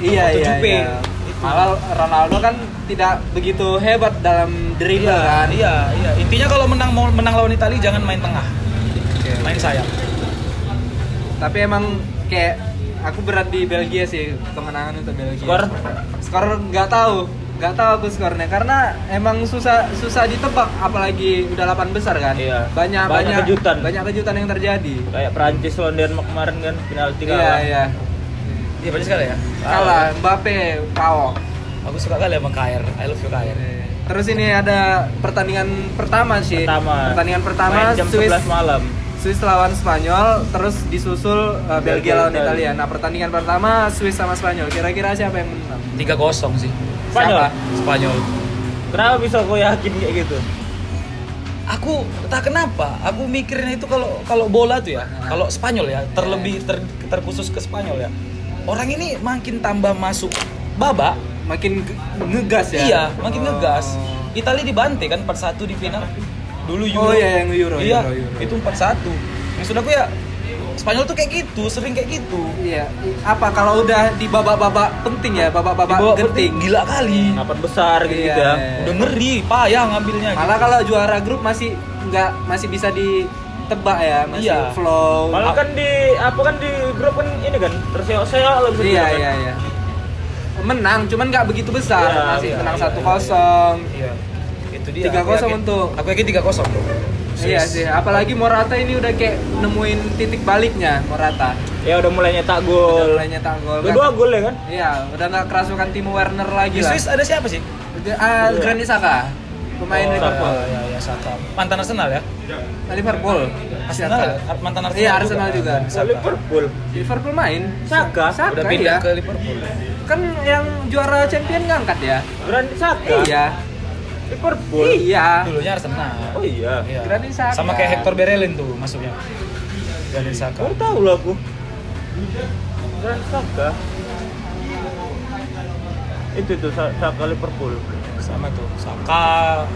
Speaker 2: Iya
Speaker 3: Atau
Speaker 2: iya.
Speaker 3: Jupe.
Speaker 2: iya.
Speaker 3: Itu.
Speaker 2: Malah Ronaldo kan tidak begitu hebat dalam dribble kan.
Speaker 3: Iya, iya, iya. Intinya kalau menang mau menang lawan Italia jangan main tengah,
Speaker 2: Oke.
Speaker 3: main sayap.
Speaker 2: Tapi emang kayak aku berat di Belgia sih kemenangan untuk Belgia.
Speaker 3: Skor?
Speaker 2: Skor nggak tahu, nggak tahu aku skornya karena emang susah susah ditebak apalagi udah 8 besar kan.
Speaker 1: Iya.
Speaker 2: Banyak
Speaker 1: Banyak
Speaker 2: banyak
Speaker 1: kejutan.
Speaker 2: banyak kejutan yang terjadi.
Speaker 1: Kayak Prancis lawan Denmark kemarin kan penalti
Speaker 2: Iya,
Speaker 1: kalah.
Speaker 2: iya.
Speaker 3: Iya, berarti sekali ya.
Speaker 2: Kalah Mbappe, KO.
Speaker 3: Aku suka kali sama KR. I love you KR.
Speaker 2: Terus ini ada pertandingan pertama sih.
Speaker 1: Pertama.
Speaker 2: Pertandingan pertama
Speaker 1: Main jam
Speaker 2: Swiss
Speaker 1: 11 malam.
Speaker 2: Swiss lawan Spanyol, terus disusul uh, Belgia
Speaker 1: Belgia
Speaker 2: lawan
Speaker 1: Italia.
Speaker 2: Italia. Nah, pertandingan pertama Swiss sama Spanyol. Kira-kira siapa yang menang?
Speaker 3: 3-0 sih.
Speaker 1: Spanyol.
Speaker 2: Siapa?
Speaker 3: Spanyol.
Speaker 1: Kenapa bisa kau yakin kayak gitu?
Speaker 3: Aku tak kenapa, aku mikirin itu kalau kalau bola tuh ya, kalau Spanyol ya, terlebih ter, terkhusus ke Spanyol ya. Orang ini makin tambah masuk babak,
Speaker 2: Makin ge- ngegas ya.
Speaker 3: iya, makin
Speaker 2: Oh.
Speaker 3: ngegas. Italia dibantai kan 4-1 di final. Dulu
Speaker 2: Oh,
Speaker 3: Euro.
Speaker 2: iya, yang Euro,
Speaker 3: Iya,
Speaker 2: Euro, Euro.
Speaker 3: itu 4-1. Maksud aku ya Spanyol tuh kayak gitu, sering kayak gitu.
Speaker 2: Iya. I- Apa kalau udah di babak-babak penting ya, babak-babak
Speaker 3: Dibawa
Speaker 2: genting.
Speaker 3: penting, gila kali.
Speaker 1: Delapan besar gitu
Speaker 2: Iya.
Speaker 1: ya.
Speaker 3: Udah ngeri, payah ngambilnya. gitu.
Speaker 2: Malah kalau juara grup masih nggak masih bisa ditebak ya, masih
Speaker 3: Iya.
Speaker 2: flow.
Speaker 1: Malah kan di apa kan di grup kan ini kan terseok-seok lah bisa
Speaker 2: iya,
Speaker 1: dibilang kan.
Speaker 2: iya, iya. Menang, cuman nggak begitu besar.
Speaker 1: Iya,
Speaker 2: masih
Speaker 1: iya,
Speaker 2: menang
Speaker 1: iya,
Speaker 2: 1-0.
Speaker 3: Iya. Itu dia.
Speaker 2: 3-0
Speaker 3: aku yakin.
Speaker 2: untuk-
Speaker 3: Aku yakin 3-0 bro.
Speaker 2: Iya sih, apalagi Morata ini udah kayak nemuin titik baliknya Morata.
Speaker 1: Ya udah mulai nyetak
Speaker 2: Udah
Speaker 1: gol.
Speaker 2: mulai nyetak gol.
Speaker 1: Udah dua gol ya kan?
Speaker 2: Iya, udah nggak kerasukan Timo Werner
Speaker 3: Di
Speaker 2: lagi lah.
Speaker 3: Swiss ada siapa sih?
Speaker 2: Udah- Ah, Granit Saka, pemain
Speaker 3: Oh,
Speaker 2: Liverpool. Nah,
Speaker 3: Iya, iya, Saka. Mantan Arsenal ya?
Speaker 2: Liverpool.
Speaker 3: Arsenal
Speaker 2: Saka.
Speaker 3: ya? Ar- Mantan Arsenal.
Speaker 2: Iya, Arsenal juga.
Speaker 3: Kan, Saka.
Speaker 1: Liverpool.
Speaker 2: Liverpool main.
Speaker 1: Saka?
Speaker 2: Saka
Speaker 3: Udah pindah
Speaker 2: iya.
Speaker 3: ke Liverpool.
Speaker 2: Kan yang juara champion ngangkat ya?
Speaker 1: Granit Saka.
Speaker 2: Iya.
Speaker 1: Liverpool.
Speaker 2: Iya.
Speaker 3: Dulunya Arsenal.
Speaker 1: Oh iya.
Speaker 3: Iya.
Speaker 2: Granit Saka.
Speaker 3: Sama kayak Hector Berelin tuh masuknya. Granit Saka.
Speaker 1: Kau tahu lah aku. Granit Saka. Itu tuh Sa- Saka Liverpool.
Speaker 3: Sama tuh. Saka,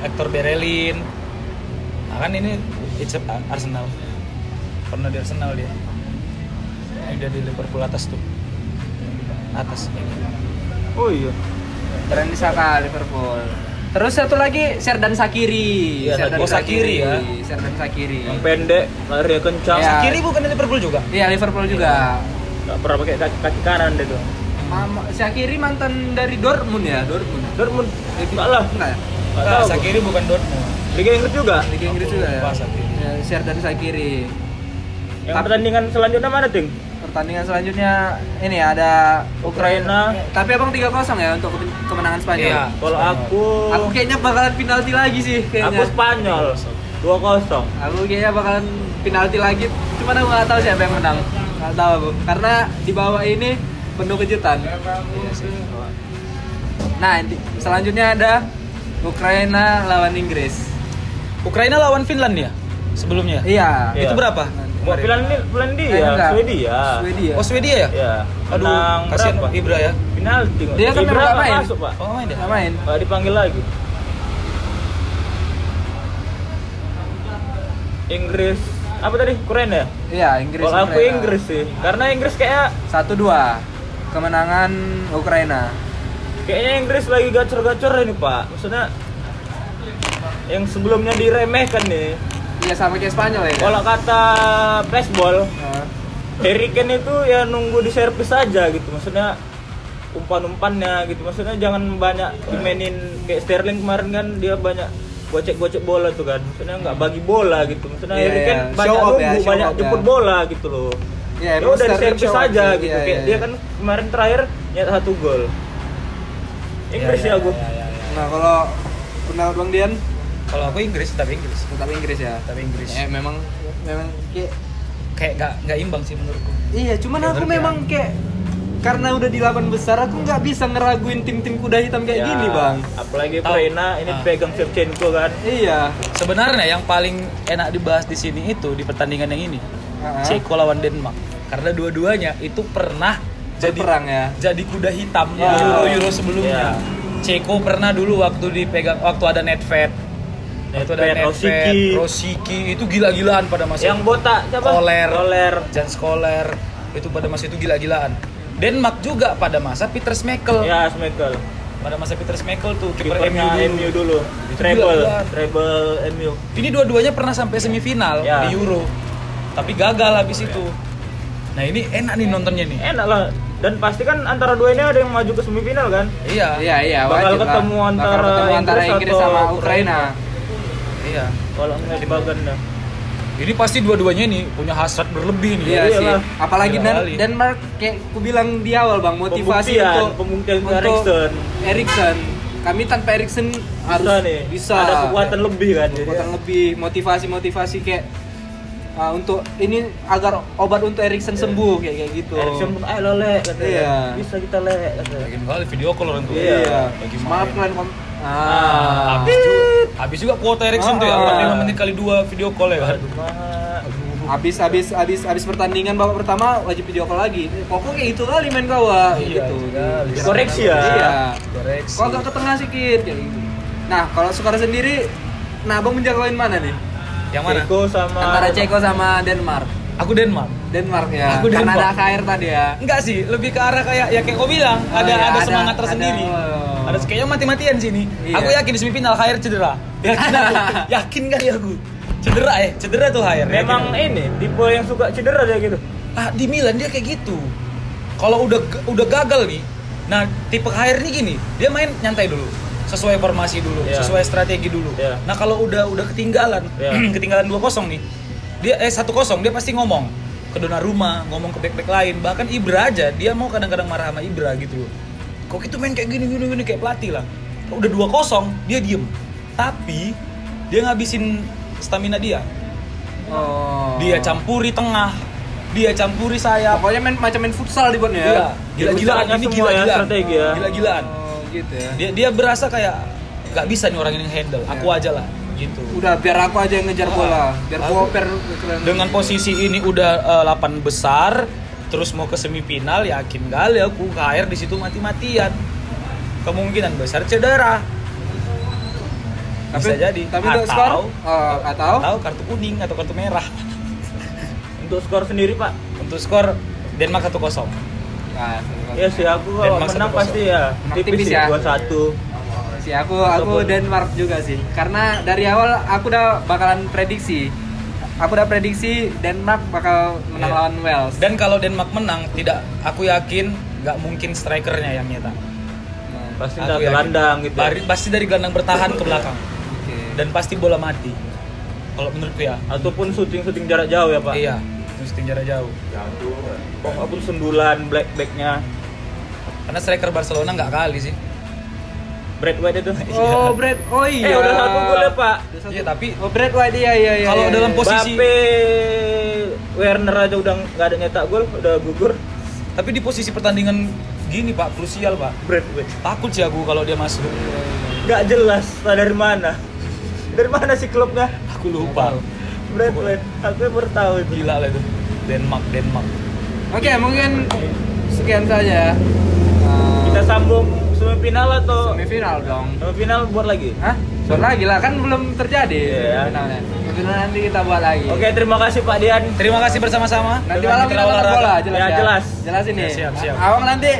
Speaker 3: Hector Berelin. Nah, kan ini it's a- Arsenal. Pernah di Arsenal dia. Ini dia di Liverpool atas tuh. Atas.
Speaker 1: Oh iya.
Speaker 2: Granit Saka Liverpool. Terus satu lagi Serdan Sakiri.
Speaker 3: Iya,
Speaker 2: Serdan
Speaker 3: oh, Sakiri ya.
Speaker 2: Serdan Sakiri.
Speaker 1: Yang pendek, larinya kencang.
Speaker 2: Iya.
Speaker 3: Kiri bukan di Liverpool juga.
Speaker 2: Iya, Liverpool juga.
Speaker 3: Iya.
Speaker 1: Gak pernah pakai kaki, kaki kanan dia tuh.
Speaker 2: Mama, Syakiri mantan dari Dortmund ya, Dortmund.
Speaker 1: Dortmund. Enggak lah.
Speaker 2: Enggak ya?
Speaker 1: Nggak
Speaker 3: Nah,
Speaker 1: tahu aku.
Speaker 3: Sakiri bukan Dortmund.
Speaker 1: Liga Inggris juga.
Speaker 2: Liga Inggris juga ya.
Speaker 3: Lupa Syakiri.
Speaker 2: Ya, Sherdan Syakiri.
Speaker 1: Yang
Speaker 2: Tapi-
Speaker 1: pertandingan selanjutnya mana, Ting?
Speaker 2: Pertandingan selanjutnya ini ada
Speaker 1: Ukraina.
Speaker 2: tapi abang 3-0 ya untuk kemen- kemenangan Spanyol.
Speaker 3: Iya.
Speaker 1: Nah, Kalau
Speaker 3: Spanyol.
Speaker 1: aku
Speaker 2: Aku kayaknya bakalan penalti lagi sih
Speaker 1: aku
Speaker 2: kayaknya. Aku,
Speaker 1: Spanyol 2-0.
Speaker 2: kayaknya bakalan penalti lagi. Cuman aku nggak tahu siapa yang menang. Nggak tahu aku. Karena di bawah ini penuh kejutan. Iya Nah, di- selanjutnya ada Ukraina lawan Inggris.
Speaker 3: Ukraina lawan Finland ya sebelumnya.
Speaker 2: Iya.
Speaker 1: Iya.
Speaker 3: Itu berapa?
Speaker 1: Mau Finlandia, Finlandia,
Speaker 2: Kayaknya nggak.
Speaker 1: Iya, Swedia.
Speaker 2: Swedia.
Speaker 3: Oh Swedia ya?
Speaker 1: Iya.
Speaker 3: Aduh,
Speaker 1: Menang
Speaker 3: kasihan
Speaker 1: berapa?
Speaker 3: Pak Ibra ya.
Speaker 1: Penalti. Pak.
Speaker 2: Dia kan
Speaker 1: Ibra
Speaker 2: memang nggak
Speaker 1: nggak
Speaker 2: main.
Speaker 1: masuk, Pak.
Speaker 3: Oh main deh.
Speaker 2: Nggak main.
Speaker 1: Pak, dipanggil lagi. Inggris. Apa tadi? Ukraina ya?
Speaker 2: Iya, Inggris. ah.
Speaker 1: Kalau aku
Speaker 2: Ukraina.
Speaker 1: Inggris sih. Karena Inggris kayak
Speaker 2: Satu dua kemenangan Ukraina.
Speaker 1: kayaknya Inggris lagi gacor-gacor ini, Pak. Maksudnya yang sebelumnya diremehkan nih.
Speaker 2: Iya sama kayak Spanyol ya.
Speaker 1: Kalau kata flashball,
Speaker 2: Nah,
Speaker 1: Harry Kane itu ya nunggu di servis aja gitu maksudnya umpan-umpannya gitu maksudnya jangan banyak dimainin kayak Sterling kemarin kan dia banyak gocek-gocek bola tuh kan maksudnya nggak bagi bola gitu maksudnya
Speaker 2: Iya,
Speaker 1: Harry Kane
Speaker 2: iya.
Speaker 1: banyak
Speaker 2: Show off ya,
Speaker 1: nunggu
Speaker 2: show
Speaker 1: banyak
Speaker 2: off ya.
Speaker 1: jemput bola gitu loh
Speaker 2: Iya,
Speaker 1: ya
Speaker 2: emang
Speaker 1: udah di
Speaker 2: Sterling
Speaker 1: servis
Speaker 2: show off
Speaker 1: aja
Speaker 2: sih,
Speaker 1: gitu
Speaker 2: iya,
Speaker 1: kayak
Speaker 2: iya.
Speaker 1: dia kan kemarin terakhir nyetak satu gol Inggris ya, gue
Speaker 2: nah kalau pendapat Bang Dian
Speaker 3: Kalau aku Inggris tapi Inggris.
Speaker 2: tetap Inggris ya.
Speaker 3: Tapi Inggris.
Speaker 2: Eh memang memang kayak
Speaker 3: Kayak nggak nggak imbang sih menurutku.
Speaker 2: iya cuman
Speaker 3: Bener
Speaker 2: aku
Speaker 3: kan?
Speaker 2: memang kayak karena udah di lapan besar aku nggak bisa ngeraguin tim-tim kuda hitam kayak
Speaker 1: Ya,
Speaker 2: gini bang.
Speaker 1: apalagi
Speaker 3: Tahu.
Speaker 1: Ukraina ini
Speaker 3: Ah.
Speaker 1: pegang Shevchenko kan
Speaker 2: Iya.
Speaker 3: Sebenarnya yang paling enak dibahas di sini itu di pertandingan yang ini.
Speaker 2: Ah, ah.
Speaker 3: Ceko lawan Denmark. Karena dua-duanya itu pernah jadi
Speaker 2: Berperang ya.
Speaker 3: jadi kuda hitam
Speaker 1: Ya.
Speaker 3: di Euro Euro
Speaker 1: Ya.
Speaker 3: sebelumnya. Ceko pernah dulu waktu dipegang waktu ada Netfed. Waktu ada
Speaker 1: Nedved,
Speaker 3: Netfed,
Speaker 1: Rosicky.
Speaker 3: Rosicky itu gila-gilaan pada masa
Speaker 1: yang
Speaker 3: itu.
Speaker 1: botak siapa?
Speaker 3: Koler.
Speaker 1: Koler.
Speaker 3: Jan Scholler itu pada masa itu gila-gilaan. Denmark juga pada masa Peter Schmeichel.
Speaker 1: Ya, Schmeichel.
Speaker 3: pada masa Peter Schmeichel tuh kiper MU
Speaker 1: kipernya
Speaker 3: dulu.
Speaker 1: MU dulu
Speaker 3: Itu
Speaker 1: treble
Speaker 3: juga.
Speaker 1: treble MU
Speaker 3: Ini dua-duanya pernah sampai semifinal
Speaker 1: Ya.
Speaker 3: di Euro. Tapi
Speaker 2: Oh,
Speaker 3: gagal habis itu.
Speaker 2: ya.
Speaker 3: Nah, ini enak nih nontonnya nih.
Speaker 1: enak lah dan pasti kan antara dua ini ada yang maju ke semifinal kan
Speaker 3: Iya.
Speaker 2: Iya iya
Speaker 1: Bakal
Speaker 2: wajib lah.
Speaker 1: ketemu antara
Speaker 2: Bakal ketemu antara
Speaker 1: Inggris
Speaker 2: Inggris
Speaker 1: atau
Speaker 2: sama
Speaker 1: Ukraina.
Speaker 2: Ukraina.
Speaker 3: Iya.
Speaker 1: kalau ngeliat Baganda
Speaker 3: Ini pasti dua-duanya nih punya hasrat berlebih nih.
Speaker 2: Iya
Speaker 1: Iya
Speaker 2: sih.
Speaker 1: lah.
Speaker 2: Apalagi
Speaker 3: Gila
Speaker 2: Dan
Speaker 3: kali.
Speaker 2: Denmark kayak ku bilang di awal Bang motivasi
Speaker 1: Pembuktian,
Speaker 2: untuk
Speaker 1: pembuktian untuk
Speaker 2: untuk
Speaker 1: Eriksen.
Speaker 2: Eriksen. Kami tanpa Eriksen harus
Speaker 1: bisa nih
Speaker 2: bisa
Speaker 1: ada kekuatan lebih kan jadi
Speaker 2: Kekuatan lebih motivasi-motivasi kayak ah, untuk ini agar obat untuk Eriksen
Speaker 3: Iya.
Speaker 2: sembuh kayak kayak gitu.
Speaker 1: Erikson pun ayo lo lek katanya
Speaker 2: Iya.
Speaker 1: bisa kita lek katanya
Speaker 3: Lagi kali video call orang tuh.
Speaker 2: Iya.
Speaker 3: Lagi
Speaker 2: Maaf
Speaker 3: main.
Speaker 2: kalian kom-
Speaker 3: Ah,
Speaker 2: Ah.
Speaker 3: habis juga, habis juga kuota Erickson tuh ya,
Speaker 2: Ah.
Speaker 3: 45 menit kali dua video call ya kan.
Speaker 1: Aduh, mahal.
Speaker 2: Habis habis habis habis pertandingan babak pertama wajib video call lagi. Pokoknya kayak gitu kali main kawa
Speaker 3: Iya,
Speaker 2: gitu.
Speaker 3: iya.
Speaker 1: Dikoreksi ya.
Speaker 2: Iya.
Speaker 3: Koreksi.
Speaker 2: Kok agak ke tengah sedikit kayak gitu. Nah, kalau Sukar sendiri nah Abang menjagain mana nih?
Speaker 3: Yang mana?
Speaker 1: Ceko sama
Speaker 2: Antara Ceko sama Denmark.
Speaker 3: Aku Denmark.
Speaker 2: Denmark ya.
Speaker 3: Aku
Speaker 2: Karena
Speaker 3: Denmark.
Speaker 2: ada KR tadi ya.
Speaker 3: Enggak sih, lebih ke arah kayak ya kayak kau bilang,
Speaker 2: Oh,
Speaker 3: ada,
Speaker 2: iya,
Speaker 3: ada
Speaker 2: ada-
Speaker 3: semangat tersendiri.
Speaker 2: ada, oh.
Speaker 3: Ada, kayaknya mati-matian sini.
Speaker 2: Iya.
Speaker 3: Aku yakin di semifinal Hair cedera. Yakin aku. yakin kali aku. Cedera ya, cedera tuh Hair. Yakin
Speaker 1: memang
Speaker 3: aku.
Speaker 1: ini tipe yang suka cedera dia gitu
Speaker 3: ah, di Milan dia kayak gitu. Kalau udah udah gagal nih, nah tipe Hair ini gini, dia main nyantai dulu sesuai formasi dulu,
Speaker 1: Iya.
Speaker 3: sesuai strategi dulu.
Speaker 1: Iya.
Speaker 3: Nah kalau udah udah ketinggalan,
Speaker 1: Iya.
Speaker 3: ketinggalan 2-0 nih, dia eh 1-0 dia pasti ngomong ke Donnarumma, ngomong ke back-back lain, bahkan Ibra aja dia mau kadang-kadang marah sama Ibra gitu loh. Kok itu main kayak gini gini gini kayak pelatih lah. Udah 2-0 dia diem, tapi dia ngabisin stamina dia.
Speaker 2: Oh.
Speaker 3: Dia campuri tengah, dia campuri sayap,
Speaker 2: Pokoknya main macam main futsal dibuatnya ya.
Speaker 3: Iya, gila-gilaan
Speaker 1: Rusak
Speaker 3: ini
Speaker 1: semua ya,
Speaker 3: gila-gilaan.
Speaker 1: strategi ya.
Speaker 3: Gila-gilaan.
Speaker 2: Oh, gitu ya.
Speaker 3: Dia dia berasa kayak nggak bisa nih orang ini handle. Aku aja lah gitu.
Speaker 2: Udah biar aku aja yang ngejar bola, biar
Speaker 3: Aku-
Speaker 2: gua oper keren.
Speaker 3: Iya. Dengan posisi ini udah 8 besar, terus mau ke semifinal yakin kali aku KR di situ mati-matian. Kemungkinan besar cedera. Bisa jadi.
Speaker 2: Tapi
Speaker 3: atau,
Speaker 2: untuk skor eh, atau
Speaker 3: atau kartu kuning atau kartu merah.
Speaker 1: untuk skor sendiri pak
Speaker 3: Untuk skor Denmark 1-0.
Speaker 2: Nah,
Speaker 3: Iya.
Speaker 1: ya sih aku kalau
Speaker 3: Denmark
Speaker 1: menang
Speaker 3: 1-0.
Speaker 1: pasti ya
Speaker 2: Menang tipis
Speaker 1: tipis sih
Speaker 2: ya.
Speaker 1: dua satu
Speaker 2: Si aku aku Denmark juga sih. Karena dari awal aku udah bakalan prediksi. Aku udah prediksi Denmark bakal menang
Speaker 3: Iya.
Speaker 2: lawan Wales.
Speaker 3: Dan kalau Denmark menang, tidak aku yakin nggak mungkin strikernya yang nyetak.
Speaker 2: Nah,
Speaker 1: pasti
Speaker 3: Aku
Speaker 1: nggak
Speaker 3: yakin.
Speaker 1: gelandang gitu ya.
Speaker 3: Bari- pasti dari gelandang bertahan ke belakang
Speaker 2: oke.
Speaker 3: dan pasti bola mati. Kalau menurutku ya.
Speaker 1: ataupun syuting syuting jarak jauh ya pak
Speaker 3: Iya, mesti jarak jauh.
Speaker 1: Apapun sundulan black backnya
Speaker 3: Karena striker Barcelona nggak kali sih.
Speaker 1: Brad White itu
Speaker 2: Oh, Brad. Oh iya.
Speaker 1: eh udah satu gol ya pak
Speaker 2: Udah satu.
Speaker 3: Iya, tapi
Speaker 2: Oh, Brad White iya iya iya. iya,
Speaker 3: Kalau
Speaker 2: iya.
Speaker 3: dalam pos- Posisi-
Speaker 1: Bape Werner aja udah nggak ada nyetak gol udah gugur
Speaker 3: tapi di posisi pertandingan gini Pak, krusial Pak.
Speaker 1: Brad White
Speaker 3: Takut sih aku kalau dia masuk.
Speaker 1: nggak jelas nah, dari mana dari mana sih klubnya
Speaker 3: Aku lupa.
Speaker 1: Brad White aku baru tahu itu
Speaker 3: Gila lah itu. Denmark, Denmark.
Speaker 2: Oke, mungkin
Speaker 3: Iya.
Speaker 2: sekian saja. Eh,
Speaker 1: kita sambung semifinal atau
Speaker 2: semifinal dong.
Speaker 1: semifinal buat lagi
Speaker 2: Hah? Buat lagi lah kan belum terjadi
Speaker 1: Iya.
Speaker 2: finalnya. Semifinal nanti kita buat lagi.
Speaker 1: oke terima kasih Pak Dian
Speaker 3: Terima kasih bersama-sama.
Speaker 2: Nanti
Speaker 3: dengan
Speaker 2: malam kita
Speaker 3: Mitra
Speaker 2: nonton
Speaker 3: Olahraga.
Speaker 2: bola, jelas
Speaker 1: Ya,
Speaker 2: ya.
Speaker 1: jelas.
Speaker 2: Jelas ini.
Speaker 3: Ya, siap, siap.
Speaker 2: Awang nanti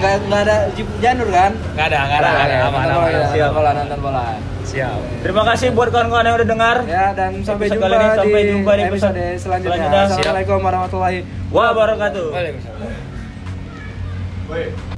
Speaker 2: nggak nggak ada Jeep janur kan?
Speaker 3: Nggak ada, nggak ada, nggak ada.
Speaker 2: Ya,
Speaker 3: Aman,
Speaker 2: nonton
Speaker 3: aman.
Speaker 2: bola,
Speaker 1: Nah, Siap.
Speaker 2: Nonton bola, nonton bola.
Speaker 3: Siap.
Speaker 1: terima kasih buat kawan-kawan yang udah dengar
Speaker 2: Ya dan sampai
Speaker 1: Episode
Speaker 2: jumpa,
Speaker 1: kali ini, sampai
Speaker 2: di
Speaker 1: jumpa di episode
Speaker 2: episode selanjutnya.
Speaker 1: selanjutnya.
Speaker 2: Assalamualaikum warahmatullahi
Speaker 1: wabarakatuh
Speaker 3: Waalaikumsalam.